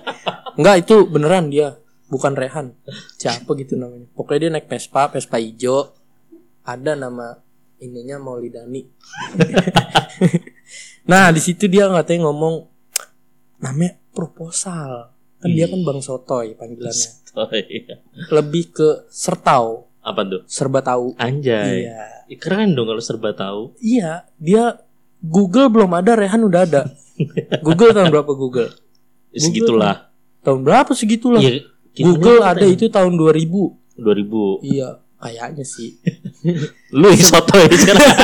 A: Enggak itu beneran dia, bukan Rehan. Siapa gitu namanya. Pokoknya dia naik Vespa, Vespa hijau. Ada nama ininya Maulidani. nah, di situ dia katanya ngomong namanya proposal. Kan dia kan Bang Sotoy panggilannya.
B: Iya.
A: Lebih ke sertau,
B: apa tuh
A: serba tahu.
B: anjay
A: Iya.
B: Ih, keren dong kalau serba tahu
A: Iya, dia Google belum ada, Rehan udah ada. Google tahun berapa Google?
B: Ih, segitulah
A: Tahun berapa segitulah.
B: Iya, kita
A: Google
B: nih
A: ada
B: keren.
A: itu tahun 2000.
B: 2000
A: Iya, kayaknya sih.
B: lu yang sotoy sekarang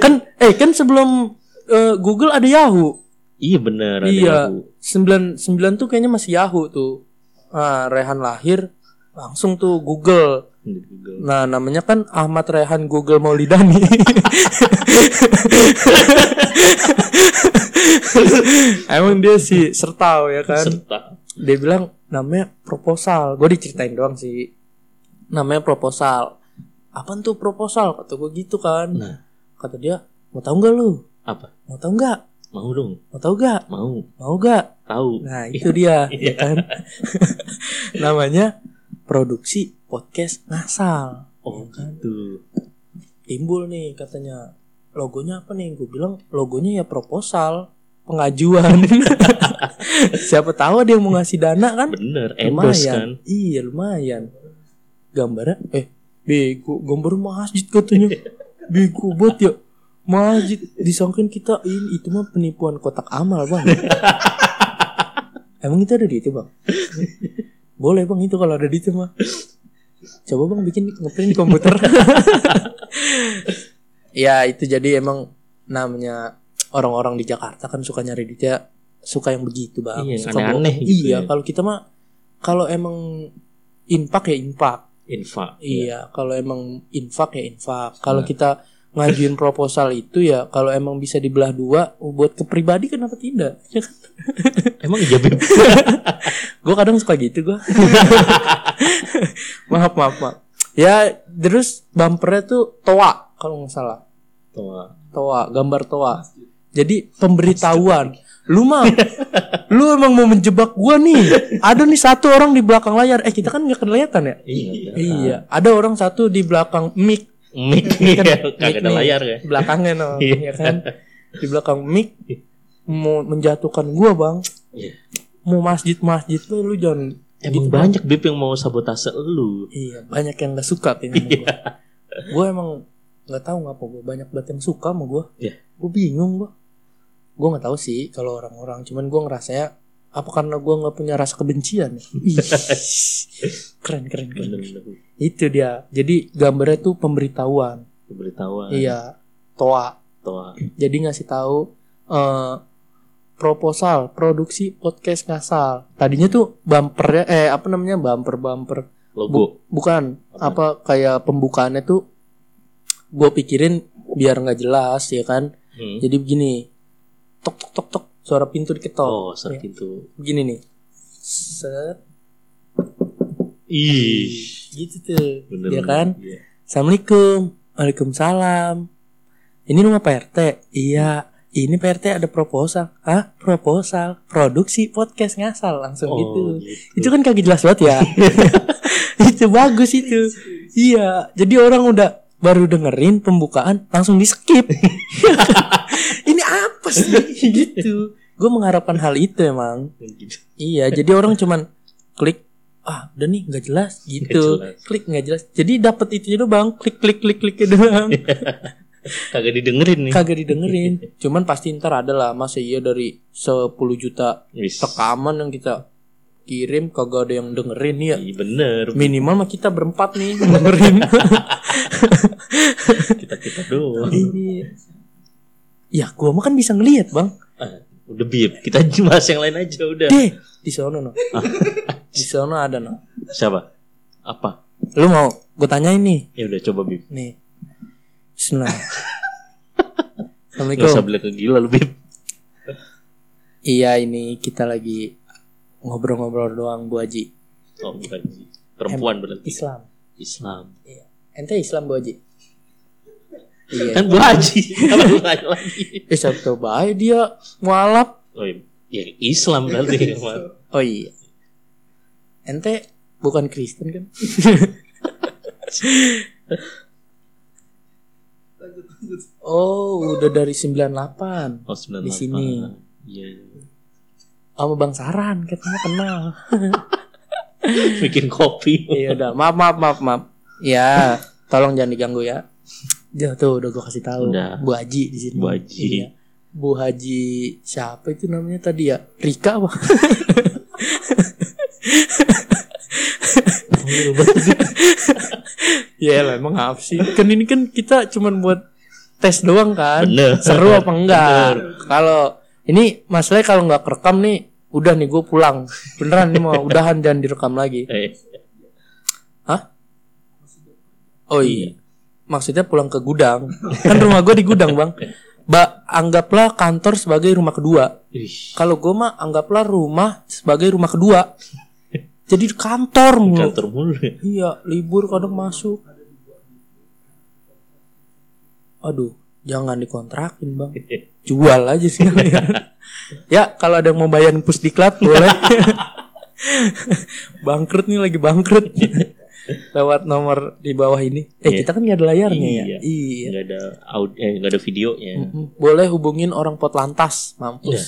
A: kan eh kan sebelum eh, Google ada Yahoo.
B: iya bener ada
A: Iya.
B: aku.
A: 99 tuh kayaknya masih Yahoo tuh. Ah, Rehan lahir langsung tuh Google.
B: Di Google
A: Nah, namanya kan Ahmad Rehan Google Maulidani. Emang dia sih sertau ya kan?
B: serta
A: dia bilang namanya proposal gue diceritain doang sih namanya proposal apa tuh proposal kata gue gitu kan
B: Nah.
A: kata dia mau tahu nggak lu
B: apa
A: mau tahu nggak
B: mau dong
A: mau tahu nggak
B: mau
A: mau nggak
B: tahu
A: nah itu dia ya kan namanya produksi podcast ngasal
B: oh
A: ya kan?
B: gitu
A: timbul nih katanya logonya apa nih gue bilang logonya ya proposal pengajuan siapa tahu ada yang mau ngasih dana kan
B: bener endorse kan
A: Iya lumayan. Gambarnya eh bego gambar masjid katanya. bego buat ya. Masjid disangkain kita ini itu mah penipuan kotak amal, Bang. Emang itu ada di itu, Bang? Boleh, Bang, itu kalau ada di itu mah. Coba Bang bikin ngeprint di komputer. ya, itu jadi emang namanya orang-orang di Jakarta kan suka nyari duit ya suka yang begitu bang
B: Iya, yang
A: Suka bohong.
B: aneh-aneh gitu
A: iya
B: ya.
A: kalau kita mah kalau emang infak ya infak
B: infak
A: iya kalau emang infak ya infak kalau
B: Nah.
A: kita ngajuin proposal itu ya kalau emang bisa dibelah dua buat ke pribadi kenapa tidak ya kan
B: emang iya Beb?
A: gue kadang suka gitu gue maaf maaf maaf ya terus bumpernya tuh toa kalau nggak salah
B: Tua.
A: toa gambar toa jadi pemberitahuan lu mah lu emang mau menjebak gua nih ada nih satu orang di belakang layar eh kita kan nggak kelihatan ya
B: iya
A: iya ada orang satu di belakang mic
B: mic
A: Kan,
B: iya.
A: mic
B: kagak ada
A: nih.
B: layar ya
A: belakangnya no
B: Iya.
A: ya kan di belakang mic mau menjatuhkan gua bang
B: Iya.
A: mau masjid masjid lu lu jangan
B: emang
A: gitu, Bang.
B: banyak bib yang mau sabotase lu
A: Iya, banyak yang gak suka kayaknya sama gua. Gua emang nggak tahu ngapa gue banyak banget yang suka sama gue
B: Iya.
A: gue bingung gue gue nggak tahu sih kalau orang-orang cuman gue ngerasanya apa karena gue nggak punya rasa kebencian ya? Ih, keren keren keren
B: bener-bener
A: itu dia jadi gambarnya tuh pemberitahuan
B: pemberitahuan
A: iya toa
B: toa
A: jadi ngasih tahu eh proposal produksi podcast ngasal tadinya tuh bumpernya eh apa namanya bumper bumper
B: logo
A: bukan
B: Apa?
A: apa kayak pembukaannya tuh gue pikirin biar nggak jelas ya kan
B: Hmm.
A: jadi begini tok tok tok tok suara pintu diketok
B: oh
A: Iya.
B: seperti itu
A: begini nih set
B: ih
A: gitu tuh
B: bener
A: ya kan
B: Iya.
A: assalamualaikum waalaikumsalam ini rumah prt iya ini prt ada proposal ah proposal produksi podcast ngasal langsung gitu
B: oh,
A: itu kan kagak jelas banget ya itu bagus itu iya jadi orang udah baru dengerin pembukaan langsung di skip ini apa sih gitu gue mengharapkan hal itu emang
B: Gitu.
A: iya jadi orang cuman klik ah udah nih nggak jelas gitu
B: Nggak jelas.
A: klik nggak jelas jadi dapat itu doang klik klik klik klik doang
B: Iya. kagak didengerin nih
A: kagak didengerin cuman pasti ntar ada lah masa iya dari 10 juta
B: Wis.
A: rekaman yang kita kirim kagak ada yang dengerin ya
B: Iya, bener
A: minimal mah kita berempat nih dengerin
B: kita kita
A: Iya.
B: doang
A: ini ya gua mah kan bisa ngelihat bang
B: Ah, udah bib kita bahas yang lain aja udah
A: deh di sono no di sono ada no
B: siapa apa
A: lu mau gue tanya ini
B: ya udah coba bib
A: nih Bismillah
B: nggak usah
A: Assalamualaikum
B: bilang ke gila lu bib
A: iya ini kita lagi ngobrol-ngobrol doang Bu Haji
B: oh bukan Ji. perempuan berarti
A: Islam
B: Islam
A: ente Islam Bu Haji iya
B: kan bu haji Apa lu tanya lagi
A: eh siapa baik dia mualaf
B: oh iya. ya Islam berarti
A: oh iya ente bukan Kristen kan Oh, udah dari 98
B: oh sembilan
A: Di sini.
B: Iya.
A: sama Bang Saran katanya kenal.
B: Bikin kopi.
A: Iya udah, maaf maaf maaf maaf. Ya, tolong jangan diganggu ya. Ya tuh udah gue kasih tahu.
B: Udah.
A: Bu Haji di sini.
B: Bu Haji.
A: Iya. Bu Haji siapa itu namanya tadi ya? Rika apa? ya lah emang apa sih? Kan ini kan kita cuman buat tes doang kan.
B: Bener.
A: Seru apa enggak? Kalau ini masalahnya kalau nggak kerekam nih, udah nih gue pulang. Beneran nih mau udahan jangan direkam lagi.
B: Eh,
A: Oh iya. Maksudnya pulang ke gudang. Kan rumah gue di gudang, Bang. Ba, anggaplah kantor sebagai rumah kedua.
B: ih,
A: Kalau gue mah anggaplah rumah sebagai rumah kedua. Jadi di kantor mulu.
B: kantor mulu.
A: Iya, libur kadang masuk. Aduh, jangan dikontrakin, Bang. Jual aja sih. ya, kalau ada yang mau bayarin pusdiklat boleh. bangkrut nih lagi bangkrut. Lewat nomor di bawah ini. Eh,
B: Iya.
A: kita kan nggak ada layarnya ya.
B: Iya.
A: Iya.
B: Nggak ada audio, eh, nggak ada videonya.
A: Mm-mm. Boleh hubungin orang Potlantas, mampus.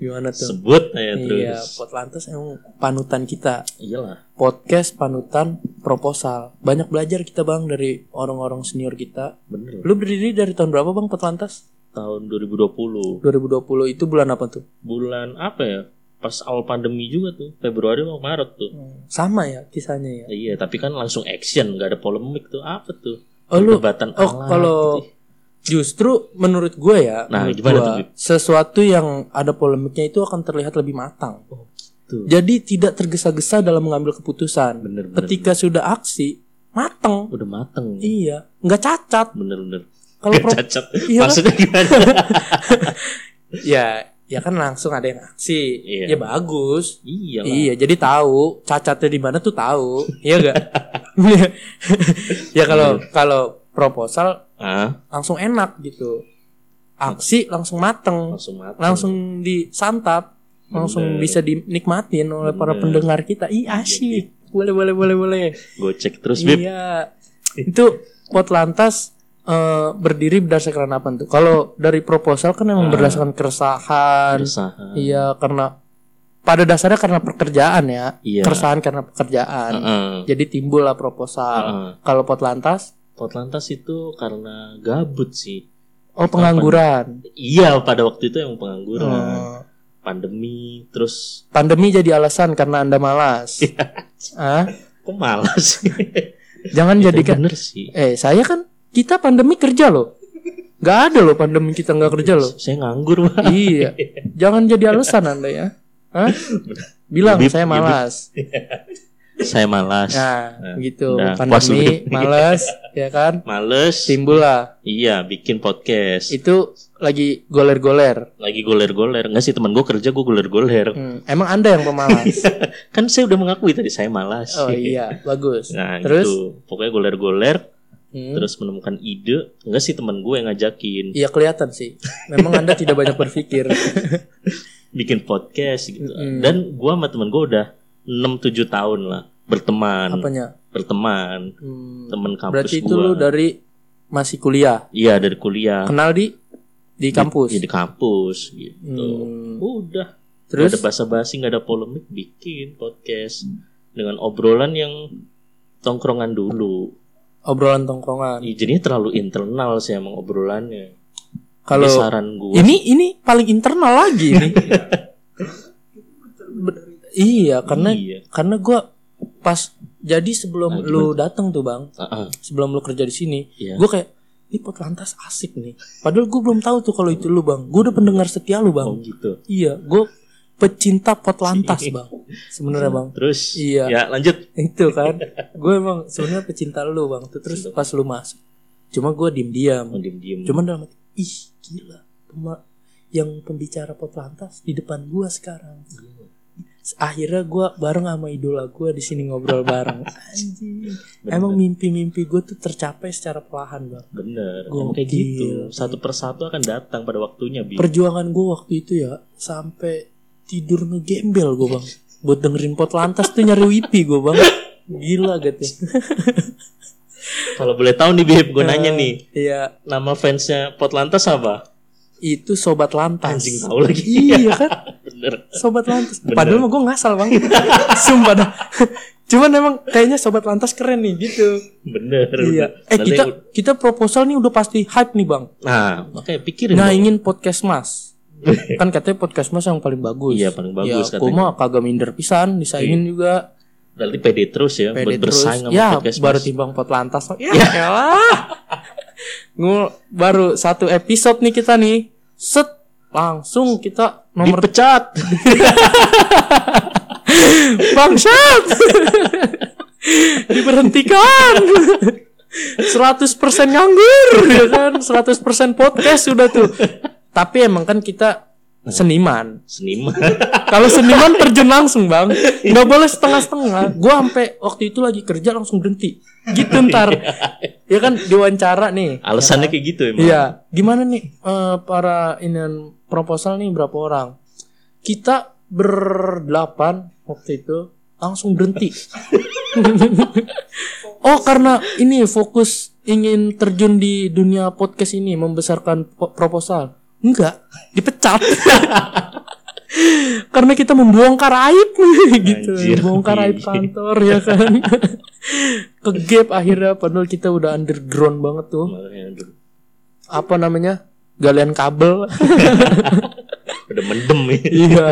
A: Gimana tuh?
B: Sebut
A: Iya,
B: aja Iya. terus.
A: Potlantas emang panutan kita
B: Iyalah.
A: podcast panutan proposal. Banyak belajar kita bang dari orang-orang senior kita.
B: Bener.
A: Lu berdiri dari tahun berapa bang Petlantas?
B: Tahun 2020
A: 2020 itu bulan apa tuh?
B: bulan apa ya? Pas awal pandemi juga tuh Februari mau Maret tuh.
A: Sama ya kisahnya ya.
B: Iya, tapi kan langsung action, nggak ada polemik tuh. Apa tuh?
A: Oh lu,
B: Perdebatan
A: oh
B: alat,
A: kalau
B: gitu.
A: justru menurut gue ya,
B: Nah,
A: menurut
B: gimana
A: gua,
B: tuh, Bib?
A: sesuatu yang ada polemiknya itu akan terlihat lebih matang.
B: Oh, gitu.
A: Jadi tidak tergesa-gesa dalam mengambil keputusan.
B: Bener, bener,
A: Ketika sudah aksi, matang.
B: udah mateng.
A: Iya, nggak cacat.
B: Bener-bener.
A: Kalau pro-
B: cacat.
A: Iya.
B: Maksudnya gimana?
A: ya, ya kan langsung ada yang aksi. Ya
B: Iya.
A: bagus.
B: iya.
A: Iya, jadi tahu cacatnya di mana tuh tahu. Iya gak? ya
B: Iya.
A: kalau kalau proposal
B: Ah,
A: langsung enak gitu. Aksi langsung mateng,
B: langsung mateng.
A: langsung disantap, langsung
B: Bener.
A: bisa dinikmatin oleh para
B: Bener.
A: pendengar kita. Ih, asyik. Boleh, boleh, boleh, boleh.
B: Gocek Iya, terus, Bib.
A: Iya. Itu Potlantas eh, berdiri berdasarkan apa tuh? Kalau dari proposal kan memang
B: Ah.
A: berdasarkan keresahan,
B: Keresahan.
A: Iya karena pada dasarnya karena pekerjaan ya,
B: Iya.
A: keresahan karena pekerjaan.
B: Heeh.
A: Jadi timbullah proposal.
B: Heeh.
A: Kalau pot lantas
B: Potlantas itu karena gabut sih.
A: Oh pengangguran.
B: Iya pada waktu itu yang pengangguran,
A: Oh.
B: pandemi, terus
A: Pandemi jadi alasan karena anda malas.
B: Iya.
A: ah,
B: kok malas sih?
A: Iya, jangan
B: Itu
A: jadikan.
B: bener sih.
A: Eh saya kan kita pandemi kerja loh. Gak ada loh pandemi kita nggak kerja loh.
B: Saya nganggur pak.
A: iya. Jangan jadi alasan anda ya. Hah? Bilang
B: Bibit,
A: saya malas.
B: Saya malas.
A: Nah,
B: Nah,
A: gitu.
B: udah, puas lu.
A: Pandemi, malas, ya kan?
B: Males.
A: Timbul lah.
B: Iya bikin podcast.
A: Itu lagi goler-goler.
B: Lagi goler-goler. Enggak sih teman gue kerja gue goler-goler.
A: Hmm, Emang anda yang pemalas.
B: Kan saya udah mengakui tadi saya malas.
A: Oh iya, bagus.
B: Nah
A: Terus?
B: gitu. Pokoknya goler-goler.
A: Hmm.
B: Terus menemukan ide. Enggak sih teman gue yang ngajakin
A: Iya kelihatan sih. Memang anda tidak banyak berpikir.
B: bikin podcast gitu.
A: Mm-mm.
B: Dan gue sama teman gue udah 6-7 tahun lah berteman,
A: Apanya?
B: berteman.
A: Hmm,
B: Temen kampus
A: Berarti itu
B: gua.
A: lu dari masih kuliah.
B: Iya dari kuliah.
A: Kenal di di
B: Di,
A: kampus.
B: di kampus gitu.
A: Hmm,
B: Udah. Terus? ada
A: Terus
B: basa-basi, nggak ada polemik, bikin podcast dengan obrolan yang tongkrongan dulu.
A: obrolan tongkrongan.
B: Ih, Jadinya terlalu internal sih emang obrolannya. Jadi
A: Kalau
B: saran gue,
A: ini ini paling internal lagi ini. Be- iya, karena
B: iya.
A: karena gua pas jadi sebelum
B: Nah,
A: lu datang tuh, Bang.
B: Ah, ah,
A: Sebelum lu kerja di sini,
B: iya.
A: gue kayak ini lantas asik nih. Padahal gue belum tahu tuh kalau itu lu bang. Gue udah pendengar setia lu bang.
B: Oh, gitu.
A: Iya, gue pecinta pot lantas bang. Sebenarnya bang,
B: Terus,
A: Iya.
B: ya lanjut.
A: itu kan. Gue emang sebenarnya pecinta lu bang. Tuh, Terus pas lu masuk, cuma gue diem diam.
B: Mau Oh, diem-diem.
A: Cuman dalam hati, ih gila, Pema- yang pembicara pot lantas di depan gue sekarang. Akhirnya gue bareng sama idola gue di sini ngobrol bareng. Anjing.
B: Bener.
A: Emang mimpi-mimpi gue tuh tercapai secara perlahan bang.
B: Bener,
A: Gokil.
B: emang kayak gitu. Satu persatu akan datang pada waktunya, Bi.
A: perjuangan gue waktu itu ya sampai tidur ngegembel gue bang buat dengerin pot lantas tuh nyari wipi gue bang gila gitu
B: Kalau boleh tahu
A: Iya.
B: nih, Bib, gue nanya nih.
A: ya
B: Nama fansnya Potlantas apa?
A: itu sobat lantas
B: Anjing tahu lagi.
A: iya kan
B: Bener.
A: sobat lantas
B: Bener.
A: padahal mah gue ngasal bang sumpah dah cuman emang kayaknya sobat lantas keren nih gitu
B: Bener.
A: iya
B: bener.
A: eh
B: Nanti-
A: kita kita proposal nih udah pasti hype nih bang
B: Nah, makanya pikirin
A: nah
B: dong.
A: ingin podcast mas kan katanya podcast mas yang paling bagus
B: Iya, paling bagus
A: ya, aku
B: katanya. Iya.
A: mah kagak minder pisan disaingin juga
B: Berarti pede terus ya
A: PD
B: buat
A: terus
B: bersaing sama
A: ya
B: podcast
A: baru
B: Mas.
A: timbang pot lantas ya elah. Ngul- baru satu episode nih kita nih set langsung kita nomor
B: dipecat. Gitu.
A: bangsat diberhentikan 100% nganggur ya kan 100% podcast sudah tuh tapi emang kan kita
B: Nah.
A: seniman
B: Seniman.
A: Kalau seniman terjun langsung bang, nggak boleh setengah-setengah. Gua sampai waktu itu lagi kerja langsung berhenti. Gitu ntar, ya kan diwawancara nih.
B: Alasannya kayak gitu emang.
A: Iya, gimana nih eh, para ini proposal nih berapa orang? Kita berdelapan waktu itu langsung berhenti. oh karena ini fokus ingin terjun di dunia podcast ini membesarkan po- proposal? Enggak, dipecat. karena kita membongkar aib gitu,
B: Anjir.
A: membongkar aib kantor ya kan. Kegap akhirnya padahal kita udah underground banget tuh
B: Makanya aduh,
A: apa namanya galian kabel
B: Udah mendem ya.
A: iya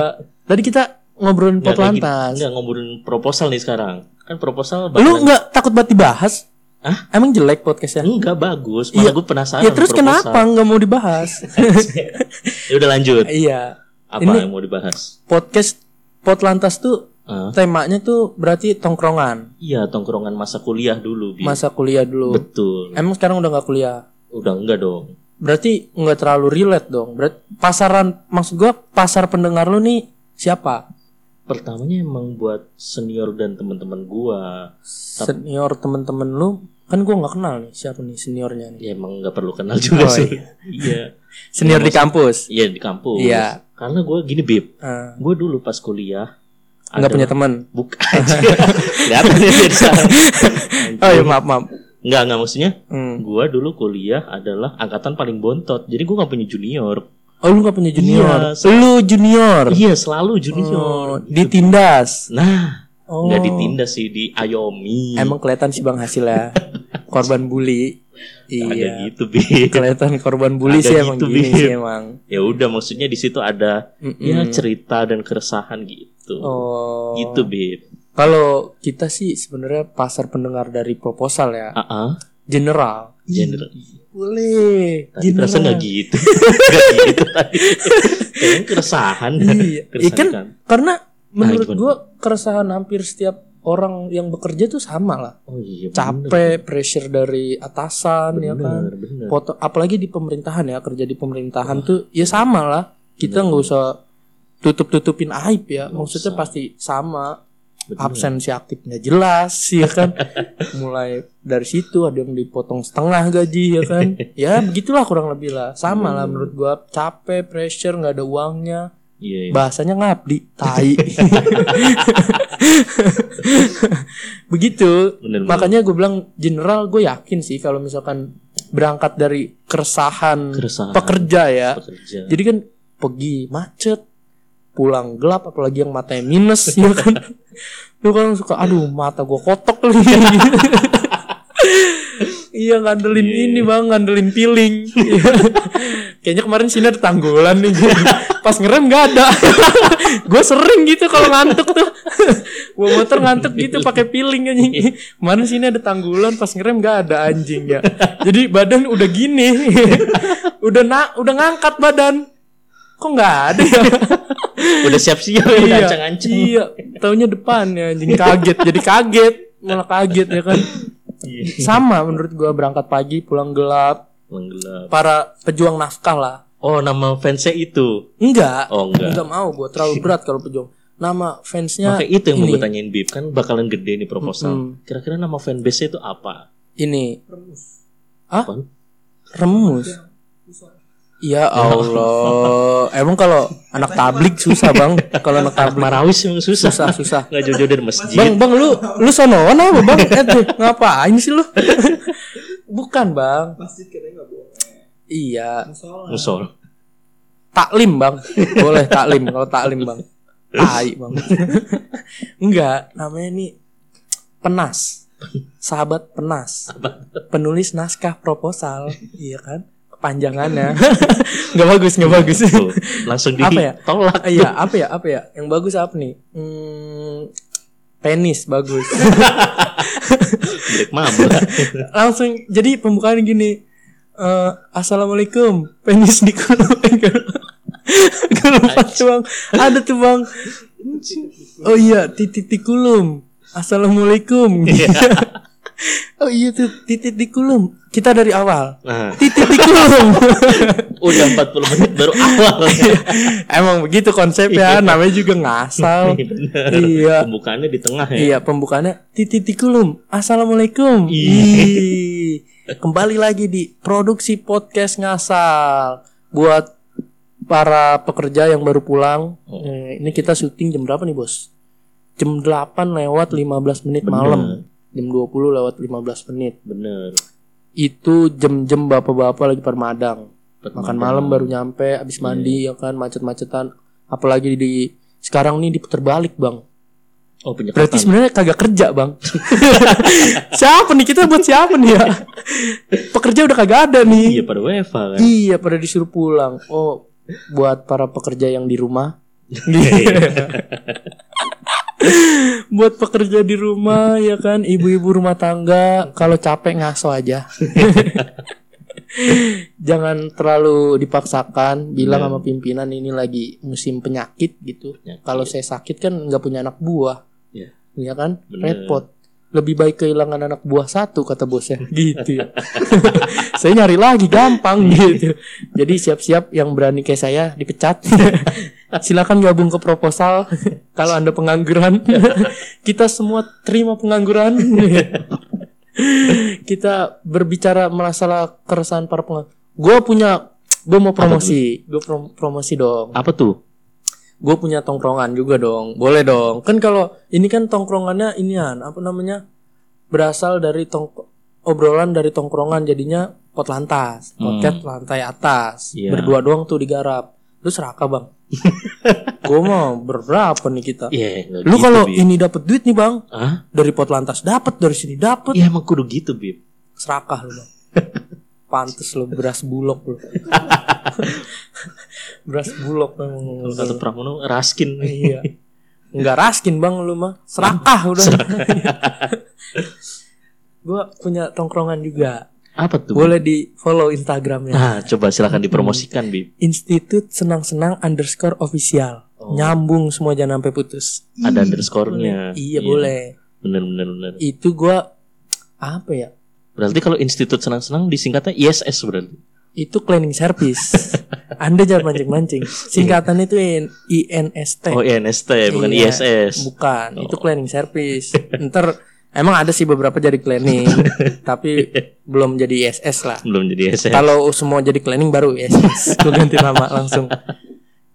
A: tadi kita ngobrolin pot
B: lagi-
A: lantas
B: nggak ngobrolin proposal nih sekarang. Kan
A: lu
B: proposal bakalan-
A: nggak takut banget dibahas
B: Hah?
A: emang jelek podcastnya
B: Enggak bagus, malah
A: Iya.
B: gue penasaran.
A: ya terus
B: proposal.
A: kenapa nggak mau dibahas
B: ya udah lanjut.
A: iya
B: Apa
A: Ini-
B: yang mau dibahas?
A: podcast pot lantas tuh
B: Ah,
A: temanya tuh berarti tongkrongan
B: iya, tongkrongan masa kuliah dulu, Bi.
A: masa kuliah dulu
B: Betul.
A: emang sekarang udah nggak kuliah
B: Udah enggak dong.
A: berarti nggak terlalu relate dong berarti pasaran maksud gua pasar pendengar lu nih siapa
B: Pertamanya emang buat senior dan teman-teman gua.
A: senior temen-temen lu kan gua nggak kenal nih siapa nih seniornya nih
B: Ya emang nggak perlu kenal
A: Oh,
B: juga sih. Iya.
A: senior di kampus
B: Iya di kampus.
A: Iya.
B: Karena gue gini bib,
A: Ah.
B: gue dulu pas kuliah
A: nggak punya teman.
B: buka aja. Kelihatan ya dari sana.
A: Oh
B: iya,
A: ya maaf maaf.
B: Nggak nggak maksudnya.
A: Hmm.
B: Gue dulu kuliah adalah angkatan paling bontot. Jadi gue nggak punya junior.
A: Oh lu nggak punya junior.
B: Iya, saya-
A: Lu junior.
B: Iya selalu
A: Oh,
B: junior.
A: ditindas.
B: Nah
A: Oh.
B: nggak ditindas sih di ayomi.
A: Emang kelihatan sih bang hasilnya. korban bully.
B: Ada
A: Iya.
B: gitu bi.
A: Kelihatan korban bully
B: Ada
A: sih emang
B: gitu,
A: gini
B: Bib.
A: sih emang.
B: Ya udah maksudnya di situ ada
A: Mm-mm.
B: ya cerita dan keresahan gitu.
A: Hmm. Oh.
B: Gitu bi.
A: Kalau kita sih sebenarnya pasar pendengar dari proposal ya.
B: Ah ah.
A: General.
B: General.
A: Boleh.
B: Tadi perasaan nggak gitu. Nggak gitu tadi. Kayaknya keresahan.
A: Iya. Iya
B: Keresahan
A: kan
B: kan.
A: karena menurut
B: gimana?
A: gua keresahan hampir setiap orang yang bekerja tuh sama lah.
B: Oh iya. bener.
A: Capek, pressure dari atasan ya kan.
B: Bener, bener.
A: Foto apalagi di pemerintahan ya, kerja di pemerintahan tuh ya sama lah. Kita nggak usah tutup-tutupin aib ya.
B: Nggak
A: Maksudnya
B: usah.
A: pasti sama,
B: Bener.
A: absensi aktifnya jelas ya kan. Mulai dari situ ada yang dipotong setengah gaji ya kan. Ya begitulah kurang lebih lah. Sama lah
B: Hmm.
A: menurut gua capek, pressure, nggak ada uangnya.
B: Iya. iya.
A: bahasanya ngabdi tai begitu
B: Bener, bener.
A: Hmm. makanya gue bilang general gue yakin sih kalau misalkan berangkat dari keresahan,
B: Keresahan.
A: pekerja ya
B: Pekerja.
A: jadi kan pergi macet pulang gelap apalagi yang matanya minus ya kan lu kan suka aduh mata gue kotok kali Iya ngandelin
B: Iya.
A: ini bang, ngandelin piling. Iya. Kayaknya kemarin sini ada tanggulan nih. Pas ngerem nggak ada. gue sering gitu kalau ngantuk tuh. Gue motor ngantuk gitu pakai piling anjing. Kemarin sini ada tanggulan, pas ngerem nggak ada anjing ya. Jadi badan udah gini, udah na udah ngangkat badan. Kok nggak ada ya?
B: Udah siap-siap
A: Iya,
B: iya. ancang-ancang.
A: Iya, taunya depan ya anjing kaget. Jadi kaget, malah kaget ya kan.
B: Iya.
A: Sama menurut gua berangkat pagi pulang gelap
B: Menggelap.
A: para pejuang nafkah lah.
B: Oh nama fansnya itu.
A: Enggak.
B: Oh enggak.
A: Enggak mau gua terlalu berat kalau pejuang. Nama fansnya
B: Makanya itu yang
A: Ya,
B: mau
A: ini.
B: gue tanyain Bib kan bakalan gede nih proposal. Kira-kira nama fanbase itu apa?
A: ini Hah?
B: Apaan?
A: remus. Ya Allah. Emang kalau anak tablik susah, Bang. Kalau anak
B: Anak
A: tablik
B: Marawis emang susah.
A: susah, susah.
B: Nggak jauh-jauh dari masjid.
A: Bang, bang lu lu sonoan apa bang? Eh, tuh, ngapain sih lu? Bukan bang.
C: Masjid katanya nggak boleh.
A: Iya,
C: Musola.
B: Musol.
A: taklim bang. Boleh taklim kalau taklim bang. Tai bang. Enggak, namanya nih penas. Sahabat penas. Penulis naskah proposal, iya kan? Kepanjangannya. Enggak bagus, enggak bagus.
B: Tuh, langsung
A: Apa ya?
B: ditolak.
A: Iya, apa ya? Apa ya? Yang bagus apa nih? Hmm, penis bagus.
B: Black Mamba.
A: langsung jadi pembukaan gini eh assalamualaikum penis di kolong gue lupa tuh bang ada tuh bang oh iya titik tikulum assalamualaikum oh iya tuh titik tikulum kita dari awal
B: Nah,
A: titik tikulum
B: udah 40 menit baru awal.
A: Iya. emang begitu konsepnya namanya juga ngasal
B: Bener.
A: iya
B: Pembukaannya di tengah ya.
A: Iya pembukaannya tititikulum assalamualaikum. Ih. Kembali lagi di produksi podcast ngasal buat para pekerja yang baru pulang. Eh, Ini kita syuting jam berapa nih bos? Jam 8 lewat 15 menit malam. Jam 20 lewat 15 menit.
B: Bener.
A: Itu jam-jam bapak-bapak lagi permadang. Makan malam baru nyampe, abis
B: Iya.
A: mandi ya kan macet-macetan. Apalagi di sekarang nih diputer balik bang.
B: Oh,
A: Berarti
B: penyekatan.
A: sebenarnya kagak kerja bang Siapa nih kita buat siapa nih ya Pekerja udah kagak ada
B: Iya,
A: nih
B: pada WFH kan.
A: Iya pada disuruh pulang Oh buat para pekerja yang di rumah Iya.
B: Iya,
A: Buat pekerja di rumah ya kan Ibu-ibu rumah tangga Kalau capek ngaso aja Jangan terlalu dipaksakan Bilang
B: Bener.
A: sama pimpinan ini lagi musim penyakit gitu
B: Iya. Penyakit.
A: kalau saya sakit kan nggak punya anak buah
B: Iya.
A: Iya kan
B: Bener.
A: repot lebih baik kehilangan anak buah satu kata bosnya gitu ya. saya nyari lagi gampang gitu jadi siap-siap yang berani kayak saya dipecat silakan gabung ke proposal kalau anda pengangguran kita semua terima pengangguran kita berbicara masalah keresahan para pengangguran gue punya gue mau
B: Apa tuh?
A: promosi gue promosi dong
B: Apa tuh?
A: gue punya tongkrongan juga dong boleh dong kan kalau ini kan tongkrongannya inian apa namanya berasal dari tong obrolan dari tongkrongan jadinya pot lantas
B: Hmm.
A: podcast lantai atas
B: Iya.
A: berdua doang tuh digarap lu seraka bang gue mau berberapa nih kita
B: Iya, nggak
A: lu
B: gitu,
A: kalau
B: Bib.
A: ini dapat duit nih bang
B: Hah?
A: dari pot lantas dapat dari sini dapat
B: Ya emang kudu gitu, Bib.
A: serakah lu bang pantes lu beras bulog lu beras bulog memang
B: Kalau kata Pramono Raskin
A: iya nggak raskin bang lu mah serakah udah gue punya tongkrongan juga
B: apa tuh?
A: boleh di follow instagramnya
B: Nah, coba silahkan dipromosikan, Bib.
A: institut senang-senang underscore official
B: Oh.
A: nyambung semua jangan sampai putus
B: Ada underscore-nya.
A: iya boleh
B: Bener, bener, bener.
A: itu gue apa ya
B: Berarti kalau institut senang-senang disingkatnya ISS berarti.
A: itu cleaning service. Anda jangan mancing-mancing. Singkatannya itu IN- INST.
B: Oh, INST bukan
A: Eh. Iya.
B: ISS.
A: Bukan, itu
B: Oh.
A: cleaning service. Ntar emang ada sih beberapa jadi cleaning, tapi belum jadi ISS lah.
B: Belum jadi ISS.
A: Kalau semua jadi cleaning baru ISS. Gue ganti nama langsung.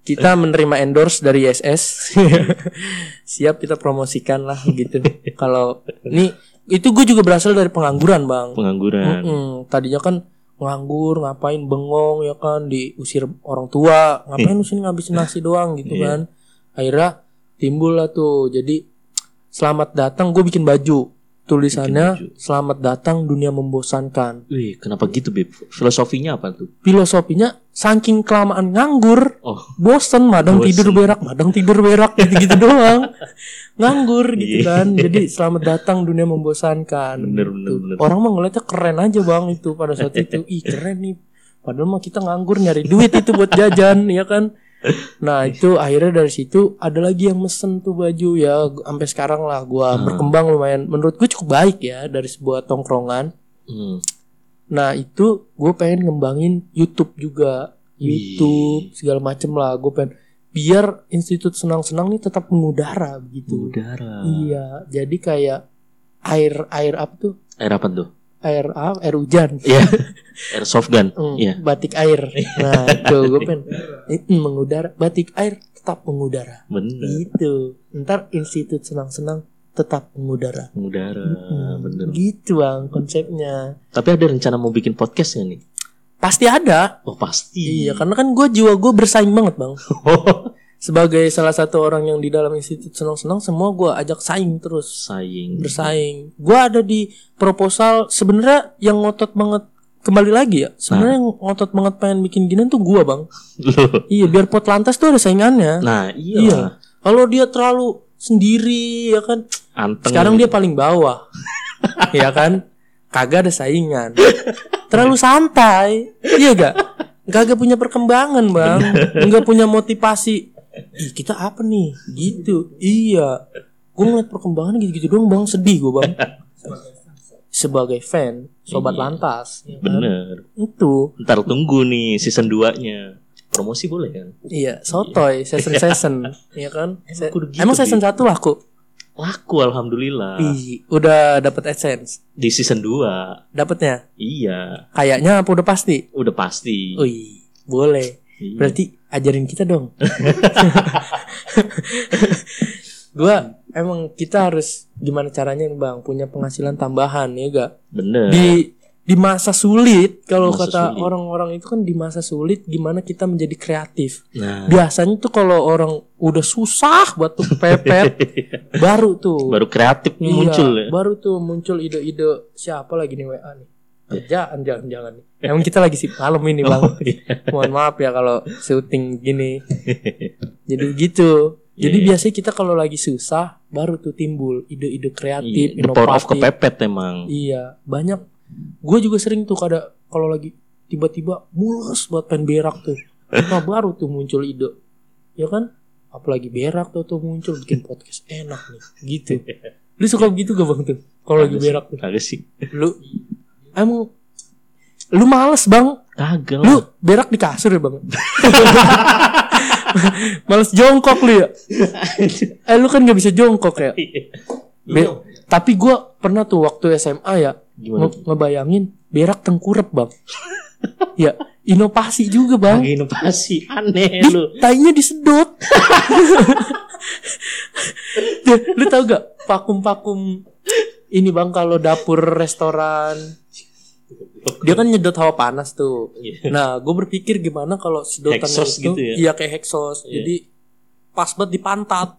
A: Kita menerima endorse dari ISS. Siap kita promosikan lah gitu. Kalau ini itu gue juga berasal dari pengangguran, Bang.
B: Pengangguran.
A: Mm-mm. Tadinya kan nganggur, ngapain bengong ya kan diusir orang tua, ngapain lu sini ngabisin nasi doang gitu
B: Iya.
A: kan. Akhirnya timbul lah tuh. Jadi selamat datang gue bikin baju. Tulisannya
B: Bikin
A: selamat datang dunia membosankan.
B: Wih, kenapa gitu, Bib? Filosofinya apa tuh?
A: Filosofinya saking kelamaan nganggur,
B: Oh.
A: bosen madang
B: Bosen.
A: tidur berak, madang tidur berak gitu-gitu doang. Nganggur gitu
B: Iya.
A: kan. Jadi selamat datang dunia membosankan.
B: Bener,
A: gitu.
B: bener, bener.
A: Orang mah ngeliatnya keren aja bang itu pada saat itu. Ih keren nih. Padahal mah kita nganggur nyari duit itu buat jajan ya kan. Nah itu akhirnya dari situ ada lagi yang mesen tuh baju ya sampai sekarang lah gua
B: Hmm.
A: berkembang lumayan menurut gue cukup baik ya dari sebuah tongkrongan.
B: Hmm.
A: Nah itu gue pengen ngembangin YouTube juga YouTube segala macem lah gue pengen biar institut senang-senang nih tetap mengudara begitu.
B: Udara.
A: Iya jadi kayak air air apa tuh
B: Air apa tuh?
A: air apa air hujan
B: Iya. Air soft gun.
A: Mm,
B: Iya.
A: batik air nah itu gue pengen Mm, mengudara batik air tetap mengudara
B: Bener.
A: gitu ntar institut senang-senang tetap mengudara
B: Udara.
A: Mm,
B: Nah, Bener.
A: gitu bang konsepnya
B: Tapi ada rencana mau bikin podcast nggak nih?
A: pasti ada
B: Oh pasti.
A: iya karena kan gue jiwa gue bersaing banget bang sebagai salah satu orang yang di dalam institut senang-senang semua gue ajak saing terus
B: Saing.
A: bersaing. Gua ada di proposal sebenarnya yang ngotot banget kembali lagi ya. Sebenarnya yang ngotot banget pengen bikin ginian tuh gua, Bang.
B: Loh.
A: Iya, biar pot lantas tuh ada saingannya.
B: Nah iya.
A: Iya. Kalau dia terlalu sendiri ya kan.
B: Anteng.
A: Sekarang dia paling bawah. ya kan? Kagak ada saingan. Terlalu santai. Iya gak? Kagak punya perkembangan, Bang. Enggak punya motivasi. Ih, kita apa nih? Gitu. Iya. Gue ngeliat perkembangan gitu-gitu doang, Bang. Sedih gue, Bang. Sebagai fan, sobat
B: Iya.
A: lantas. ya kan?
B: Bener.
A: Itu.
B: Ntar tunggu nih season 2-nya. Promosi boleh kan?
A: Iya, sotoy, season-season. Iya kan? Se-
B: Emang kudu gitu,
A: Emang
B: Bi? Ah.
A: season satu laku?
B: Laku alhamdulillah.
A: Ih, udah dapet essence.
B: Di season 2.
A: Dapetnya?
B: Iya.
A: Kayaknya apa udah pasti?
B: Udah pasti.
A: Wih, boleh.
B: Iya.
A: Berarti ajarin kita dong. gua emang kita harus gimana caranya nih, Bang punya penghasilan tambahan ya gak?
B: Bener.
A: Di di masa sulit kalau
B: Iya. Masa
A: kata
B: sulit.
A: orang-orang itu kan di masa sulit gimana kita menjadi kreatif.
B: Nah.
A: Biasanya tuh kalau orang udah susah buat tuh pepet baru tuh
B: Baru kreatif nih
A: Iya,
B: muncul ya.
A: Baru tuh muncul ide-ide siapa lagi nih WA nih. Kerjaan jangan-jangan nih. Emang kita lagi sih malam ini bang.
B: Iya. Oh, iya.
A: Mohon maaf ya kalau syuting gini. Jadi gitu. Jadi
B: Iya.
A: biasanya kita kalau lagi susah baru tuh timbul ide-ide kreatif,
B: Iya, The power of
A: inovatif.
B: kepepet emang.
A: Iya, banyak. Gue juga sering tuh kada kalau lagi tiba-tiba mulus buat pengen berak tuh. Nah baru tuh muncul ide, ya kan? Apalagi berak tuh tuh muncul bikin podcast enak nih, gitu. Lu suka begitu gak bang tuh? Kalau lagi
B: Kagak
A: berak tuh,
B: sih. Kagak sih.
A: lu emang lu males bang?
B: Kagak
A: Lu
B: lah.
A: berak di kasur ya bang? males jongkok lu ya? Eh lu kan gak bisa jongkok ya? Be-
B: Iya.
A: Tapi gue pernah tuh waktu SMA ya
B: Gimana
A: nge- ngebayangin berak tengkurep bang. ya inovasi juga
B: Kagak
A: bang.
B: inovasi aneh
A: Di,
B: lu.
A: tainya disedot. Ya, lu tau gak vakum-vakum ini bang kalau dapur restoran dia kan nyedot hawa panas tuh.
B: Iya.
A: Nah gue berpikir gimana kalau sedotannya
B: Hexos
A: itu
B: gitu ya?
A: iya kayak hexos.
B: Iya.
A: Jadi pas banget di pantat.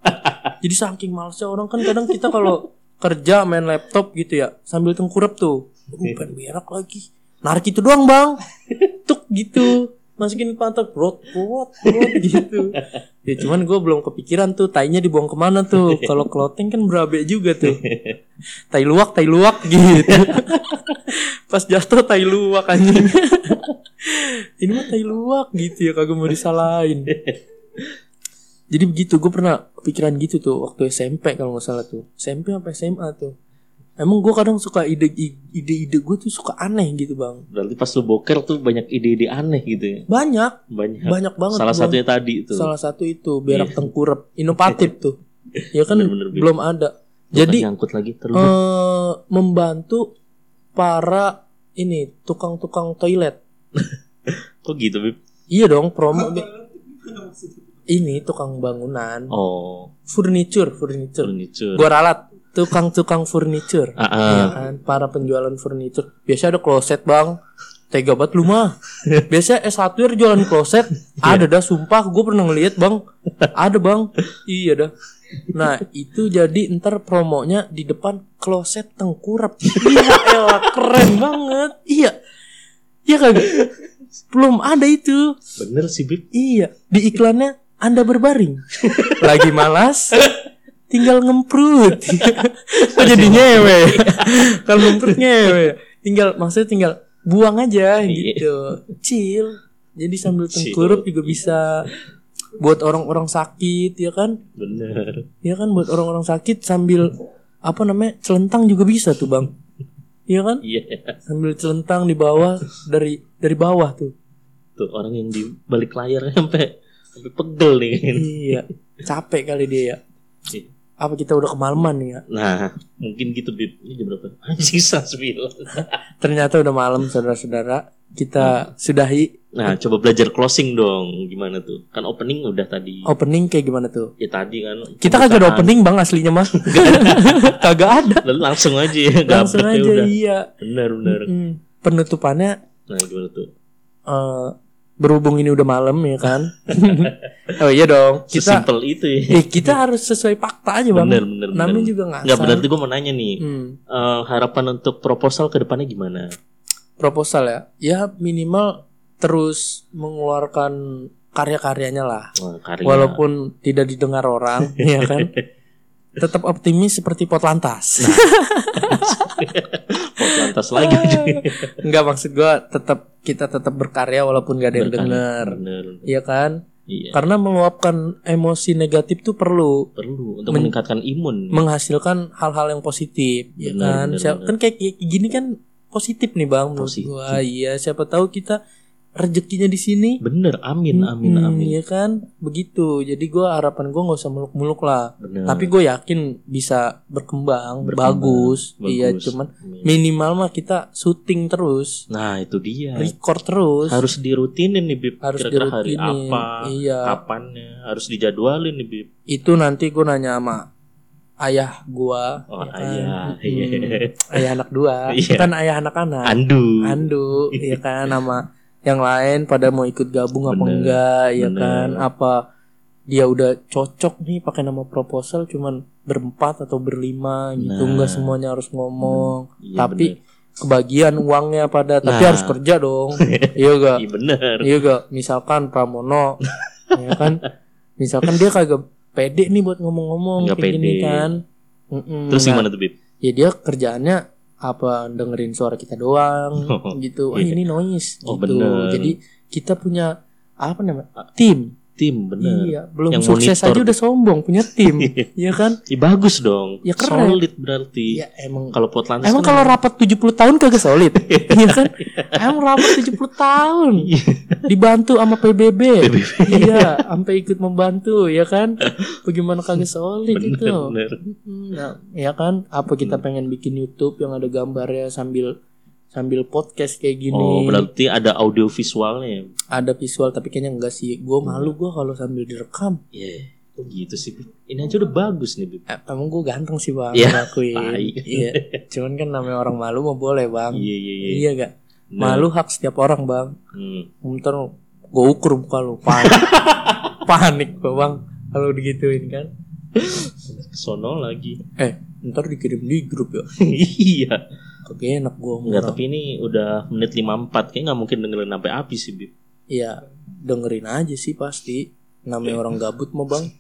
A: Jadi saking malesnya orang kan kadang kita kalau kerja main laptop gitu ya sambil tengkurap tuh.
B: Iya.
A: Aduh, ban merah lagi. Narik itu doang, Bang. Tuk gitu. Masukin pantat, brot, brot, brot gitu. Ya cuman gue belum kepikiran tuh tainya dibuang kemana tuh. Kalau clothing kan berabe juga tuh. Tai luwak, tai luwak gitu. Pas jatuh tai luwak anjing. Ini mah tai luwak gitu ya kagak mau disalahin. Jadi begitu, gue pernah kepikiran gitu tuh waktu SMP kalau nggak salah tuh. SMP apa SMA tuh. Emang gue kadang suka ide ide-ide gue tuh suka aneh gitu bang.
B: Berarti pas lu boker tuh banyak ide-ide aneh gitu ya.
A: Banyak,
B: Banyak.
A: banyak banget.
B: Salah
A: Bang.
B: satunya tadi itu. Iya.
A: Salah satu itu berak tengkurap, inovatif tuh. Ya kan
B: Bener-bener, Bib.
A: belum ada.
B: Tuh kan
A: Jadi
B: nyangkut lagi terus.
A: eh membantu para ini tukang-tukang toilet.
B: Kok gitu, Bib?
A: Iya dong promo Bi. ini tukang bangunan,
B: Oh,
A: furniture, furniture.
B: furniture.
A: Gua ralat tukang-tukang furniture.
B: Ah,
A: Iya
B: ah.
A: kan, para penjualan furniture. Biasa ada kloset, Bang. Tega banget lu mah. Biasa S1 -nya jualan kloset.
B: Iya.
A: Ada dah sumpah gue pernah ngeliat Bang. Ada, Bang. Iya dah. Nah, itu jadi ntar promonya di depan kloset tengkurap. Iya, elah, keren banget. Iya. Iya kagak. Belum ada itu.
B: Bener sih, Bib.
A: Iya, di iklannya Anda berbaring. Lagi malas, tinggal ngemprut. Kok jadi nyewe? Kalau ngemprut nyewe. Tinggal maksudnya tinggal buang aja gitu. Chill. Jadi sambil
B: Chill.
A: tengkurup juga bisa buat orang-orang sakit ya kan?
B: Bener.
A: Ya kan buat orang-orang sakit sambil apa namanya? celentang juga bisa tuh, Bang. Iya kan?
B: Iya.
A: Sambil celentang di bawah dari dari bawah tuh.
B: Tuh orang yang di balik layar sampai sampai pegel nih.
A: Iya. Capek kali dia ya.
B: Iya.
A: apa kita udah kemalaman nih ya?
B: Nah, mungkin gitu, Bib. Ini jam berapa? Anjing sas
A: Ternyata udah malam saudara-saudara. Kita sudahi
B: Nah, coba belajar closing dong. Gimana tuh? Kan opening udah tadi.
A: opening kayak gimana tuh?
B: Ya tadi kan.
A: Kita kagak ada
B: pembukaan.
A: opening bang aslinya mah. kagak ada.
B: Lalu langsung aja ya.
A: Langsung
B: gabret ya
A: aja
B: udah.
A: iya.
B: Bener, bener.
A: Mm. Penutupannya
B: Nah, gimana tuh?
A: eh, berhubung ini udah malam ya kan? oh iya dong. Kita
B: Sesimpel itu ya.
A: eh, kita harus sesuai fakta aja bang.
B: Bener, bener, bener.
A: Namanya juga nggak
B: Nggak
A: asal.
B: berarti gue mau nanya nih.
A: Hmm,
B: eh, harapan untuk proposal ke depannya gimana?
A: proposal ya. Ya minimal terus mengeluarkan karya-karyanya lah.
B: Wah, karya.
A: walaupun tidak didengar orang ya kan tetap optimis seperti pot lantas
B: Nah. Pot lantas lagi.
A: nggak maksud gua tetap kita tetap berkarya walaupun gak ada yang
B: Berkarya. Iya.
A: dengar
B: Bener.
A: ya kan
B: Iya.
A: karena meluapkan emosi negatif tuh perlu
B: Perlu untuk
A: Men-
B: meningkatkan imun.
A: menghasilkan hal-hal yang positif ya
B: Benar,
A: kan
B: benar,
A: Siap-
B: benar.
A: kan kayak kayak gini kan positif nih bang menurut
B: Positif.
A: gua iya siapa tahu kita rezekinya di sini
B: Bener. Amin, amin,
A: Hmm,
B: amin.
A: ya kan begitu jadi gua harapan gua nggak usah muluk-muluk lah
B: Bener.
A: tapi gue yakin bisa berkembang,
B: Hmm. Berkembang,
A: bagus.
B: bagus.
A: iya cuman
B: Amin.
A: minimal mah kita syuting terus
B: Nah, itu dia.
A: record terus
B: harus dirutinin nih Bib
A: Harus
B: kira-kira hari
A: dirutinin,
B: apa
A: iya.
B: kapannya harus dijadwalin nih Bib
A: itu nanti gue nanya sama ayah gue
B: Oh,
A: ya kan?
B: ayah.
A: Mm, ayah anak dua
B: Iya.
A: kan ayah anak-anak
B: andu
A: Andu ya kan sama yang lain pada mau ikut gabung apa
B: Bener,
A: enggak ya
B: bener.
A: kan apa dia udah cocok nih pakai nama proposal cuman berempat atau berlima gitu
B: Nah.
A: enggak semuanya harus ngomong
B: Iya,
A: tapi kebagian uangnya pada tapi
B: Nah.
A: harus kerja dong iya
B: bener.
A: gak
B: Iya, bener
A: iya gak misalkan Pramono ya kan misalkan dia kagak pede nih buat ngomong-ngomong
B: Nggak
A: kayak gini
B: pede.
A: kan Mm-mm,
B: terus
A: nah,
B: gimana tuh Bib
A: ya dia kerjaannya apa dengerin suara kita doang gitu ah
B: Iya.
A: ini noise
B: Oh,
A: gitu
B: bener.
A: jadi kita punya apa namanya tim
B: tim bener
A: iya belum
B: Yang
A: sukses
B: monitor.
A: aja udah sombong punya tim Iya kan
B: Ih, bagus dong
A: Ya, keren.
B: solid berarti
A: ya emang
B: Iya. kalau pot lantas
A: Emang
B: kan-
A: kalau rapat 70 tahun kagak solid? Iya kan? Emang rapat 70 tahun
B: Iya.
A: dibantu sama PBB.
B: PBB.
A: iya, sampai ikut membantu ya kan? Bagaimana kagak solid gitu. itu?
B: bener bener Hmm.
A: Mm, Nah, ya kan? Apa kita pengen bikin YouTube yang ada gambarnya sambil sambil podcast kayak gini?
B: oh berarti ada ya? audio visualnya
A: Ada visual tapi kayaknya enggak sih.
B: Hmm.
A: Gue malu gue kalau sambil direkam.
B: Iya Kok gitu sih Bib ini aja udah bagus nih Bib
A: Eh, Emang gue ganteng sih bang,
B: Iya,
A: ngakuin.
B: tai.
A: Iya, cuman kan namanya orang malu mah boleh bang.
B: iya iya iya
A: Iya gak?
B: Bener.
A: Malu hak setiap orang bang.
B: Hmm.
A: Ntar gue ukur muka lu panik. panik gue bang kalau digituin kan.
B: sono lagi
A: Eh, ntar dikirim di grup ya.
B: iya
A: Kagak enak gue
B: Enggak, tapi ini udah menit 54 Kayaknya nggak mungkin dengerin sampai habis sih Bib
A: Iya dengerin aja sih pasti
B: Iya.
A: Namanya orang gabut mah bang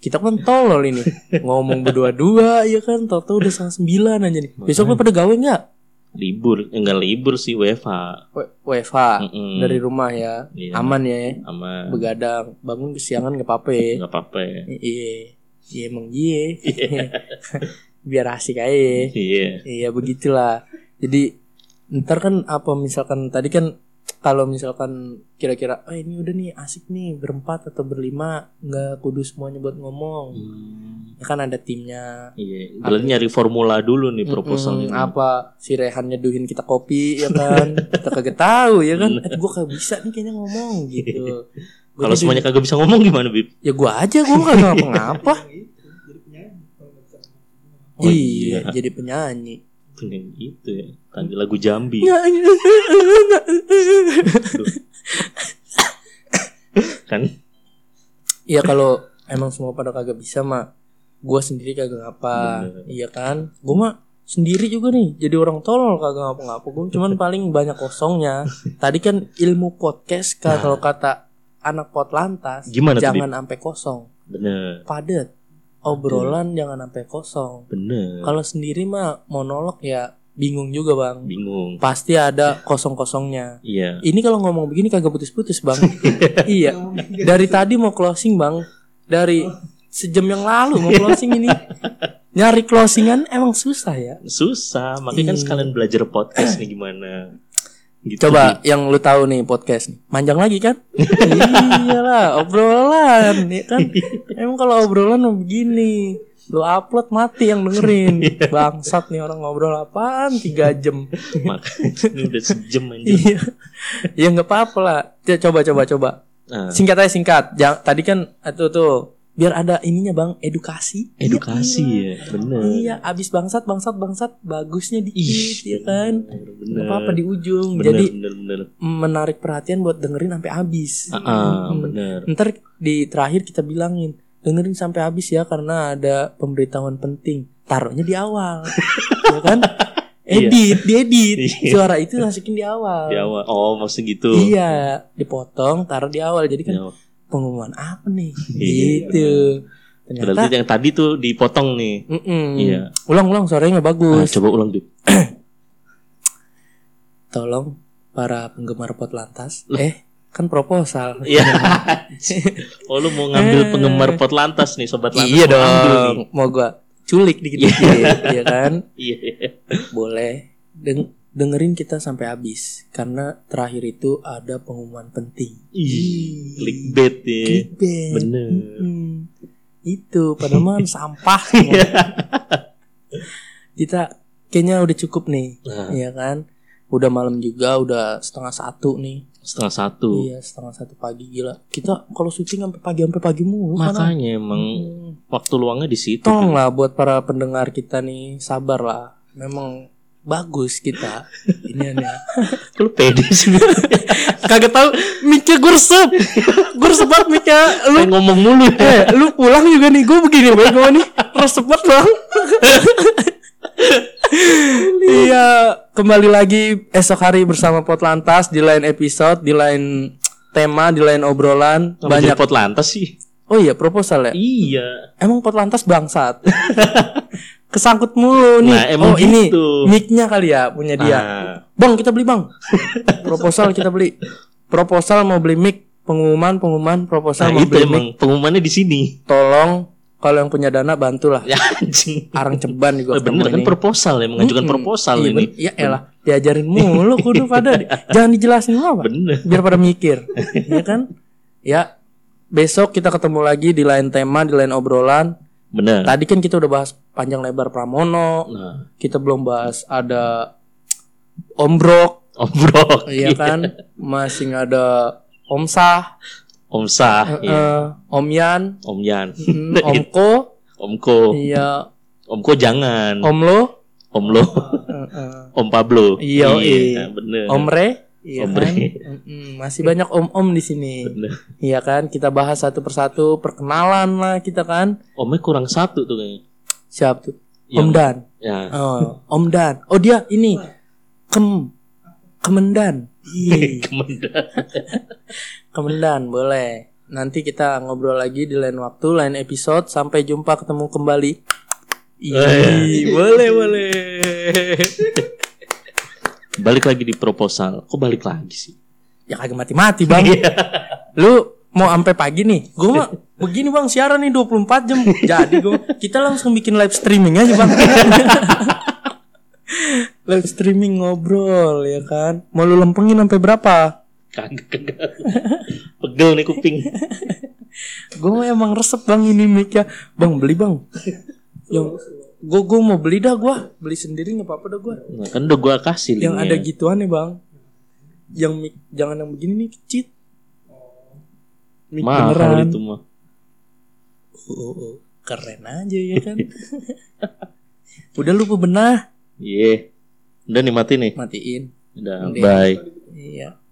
A: Kita kan tolol ini Ngomong berdua-dua ya kan Tau-tau udah setengah sembilan aja nih Besok lu pada gawe gak?
B: Libur Eh, Enggak libur sih WFH
A: WFH
B: Mm-mm.
A: Ah, Dari rumah ya
B: Hmm. Iya,
A: Aman ya
B: aman
A: Begadang Bangun kesiangan gak apa-apa ya
B: Nggak apa-apa ya
A: Iya Iya emang iya Biar asik aja ya.
B: Iya
A: Iya begitulah. Jadi ntar kan apa misalkan tadi kan kalau misalkan kira-kira ah ini udah nih asik nih berempat atau berlima nggak kudu semuanya buat ngomong.
B: Hmm,
A: Ya kan ada timnya.
B: Iya, berarti nyari formula dulu nih proposal
A: Mm-mm,
B: ini.
A: apa si Rehan nyeduhin kita kopi ya kan kita kagak tahu ya kan eh, gue kagak bisa nih kayaknya ngomong gitu Gua
B: Mm. Kalau
A: jadi-
B: semuanya kan- kagak bisa ngomong gimana, Bib?
A: ya gue aja gue kagak ngapa-ngapa iya
B: Oh, iya.
A: jadi penyanyi
B: Dengan itu ya, tadi lagu Jambi.
A: Iya. Nyanyi.
B: kan
A: Iya kalau emang semua pada kagak bisa mah gua sendiri kagak ngapa
B: Bener.
A: Iya kan Gua mah sendiri juga nih Jadi orang tolol kagak ngapa-ngapa Gua cuman paling banyak kosongnya Tadi kan ilmu podcast ka- Kalau kata anak pot lantas
B: Nah. Gimana tuh,
A: Jangan sampai kosong
B: bener,
A: Padet Obrolan
B: Iya.
A: jangan sampai kosong
B: bener.
A: Kalau sendiri mah monolog ya bingung juga bang
B: Bingung.
A: Pasti ada kosong-kosongnya
B: Iya.
A: ini kalau ngomong begini kagak putus-putus bang Iya Dari tadi mau closing bang Dari sejam yang lalu mau closing ini Nyari closingan emang susah ya
B: Susah, makanya kan
A: Iya.
B: sekalian belajar podcast nih gimana. Gitu,
A: Coba
B: Bib.
A: yang lu tahu nih podcast nih Manjang lagi kan Iyalah obrolan ya kan Emang kalau obrolan mau begini Lu upload mati yang dengerin Bangsat nih orang ngobrol apaan 3 jam
B: Makanya ini udah sejam aja.
A: Iya Ya nggak apa-apa lah Ya, Coba coba coba
B: Nah,
A: Singkat aja singkat. Jangan, tadi kan itu tuh biar ada ininya bang edukasi.
B: edukasi ya, bener.
A: Iya, abis bangsat bangsat bangsat bagusnya dikit
B: Ih, iya.
A: ya kan.
B: bener,
A: Nggak
B: Bener.
A: apa-apa di ujung.
B: Bener,
A: Jadi
B: bener, bener.
A: menarik perhatian buat dengerin sampai habis.
B: Ah, ah,
A: Mm.
B: bener.
A: Ntar di terakhir kita bilangin dengerin sampai habis ya karena ada pemberitahuan penting. Taruhnya di awal. ya kan?
B: Iya.
A: Edit, diedit.
B: Iya.
A: Suara itu masukin di awal.
B: Di awal. Oh, maksud gitu.
A: Iya, dipotong, taruh di awal. Jadi kan
B: Di awal.
A: pengumuman apa nih
B: Iya.
A: gitu
B: Berarti
A: ternyata
B: yang tadi tuh dipotong nih.
A: mm-mm.
B: Iya.
A: ulang-ulang suaranya nggak
B: Nah,
A: bagus
B: coba ulang Bib.
A: tolong para penggemar pot lantas eh kan proposal
B: Iya. oh lu mau ngambil
A: Eh.
B: penggemar pot lantas nih sobat lantas.
A: iya
B: mau ambil nih.
A: dong mau gua culik dikit-dikit ya kan
B: Iya.
A: boleh Deng- dengerin kita sampai habis karena terakhir itu ada pengumuman penting
B: Ih, Clickbait ya.
A: Clickbait.
B: Bener.
A: Mm-mm. Itu padahal mah sampah semua. Kita kayaknya udah cukup nih,
B: Nah,
A: ya kan? Udah malam juga, udah setengah satu nih.
B: setengah satu.
A: Iya, setengah satu pagi gila. Kita kalau syuting sampai pagi sampai pagi mulu. kan?
B: Makanya emang
A: Hmm.
B: waktu luangnya di situ.
A: Tolong lah buat para pendengar kita nih, sabar lah. Memang bagus kita ini
B: Kan. Lu pede sih. Bib.
A: kagak tahu mic-nya gue resep gue resep banget mic-nya lu
B: Kayak ngomong mulu.
A: eh lu pulang juga nih gue begini banget gue nih resep banget bang iya kembali lagi esok hari bersama Potlantas di lain episode di lain tema di lain obrolan
B: Ngambil
A: banyak
B: pot lantas sih.
A: oh iya proposal ya
B: Iya.
A: emang Potlantas bangsat kesangkut mulu nih
B: Nah, emang
A: oh ini
B: gitu.
A: mic-nya kali ya punya dia
B: Ah,
A: Bang kita beli bang Proposal kita beli Proposal mau beli mic Pengumuman pengumuman
B: nah,
A: proposal mau
B: itu
A: beli mic
B: emang pengumumannya di sini.
A: Tolong Kalau yang punya dana bantulah
B: Ya anjing.
A: Arang ceban juga
B: Eh, bener kan proposal ya mengajukan
A: Mm-mm.
B: proposal
A: Iya,
B: ini.
A: ben- Ya elah Diajarin mulu kudu pada Jangan dijelasin lu apa
B: Bener.
A: Biar pada mikir Iya kan Ya Besok kita ketemu lagi di lain tema, di lain obrolan.
B: Bener.
A: Tadi kan kita udah bahas panjang lebar Pramono,
B: Nah,
A: kita belum bahas ada Ombrok,
B: obrok.
A: Iya kan masih nggak ada Om Sah,
B: Om Sah,
A: eh,
B: iya.
A: Om Yan,
B: Om Yan,
A: mm, Om Ko,
B: Omko,
A: iya
B: Omko jangan,
A: Om Lo,
B: Om Lo,
A: eh, eh,
B: Om Pablo.
A: Iya, iya.
B: bener.
A: Om Re, iya
B: Om
A: kan?
B: Re.
A: Mm-mm, masih banyak Om Om di sini,
B: Bener.
A: iya kan? Kita bahas satu persatu perkenalan lah kita kan.
B: Omnya kurang satu tuh kayaknya.
A: Siap tuh.
B: Iya.
A: Om Dan.
B: Ya.
A: Oh, Om Dan. Oh dia ini Kem Kemendan. Iya. Ih,
B: Kemendan.
A: Kemendan boleh. Nanti kita ngobrol lagi di lain waktu, lain episode. Sampai jumpa, ketemu kembali.
B: iya.
A: Ih, boleh boleh.
B: Balik lagi di proposal. Kok balik lagi sih?
A: Ya kagak mati-mati bang. Lu mau sampai pagi nih? Gue mah begini bang siaran nih 24 jam. Jadi gue kita langsung bikin live streaming aja bang. live streaming ngobrol ya kan. Mau lu lempengin sampai berapa?
B: Kagak kagak. Pegel nih kuping.
A: Gue emang resep bang ini mic Bang beli bang. Yang gue gue mau beli dah gua beli sendiri nggak apa-apa dah gua
B: Nah, kan udah gua kasih
A: Yang ada
B: linknya.
A: gituan nih bang. Yang mic jangan yang begini nih kecil. Mic
B: Mahal itu mah.
A: Oh, oh, oh. keren aja ya kan. Udah lu bebenah
B: Iya. Udah nih mati nih.
A: matiin.
B: Udah,
A: Mending.
B: bye.
A: Iya.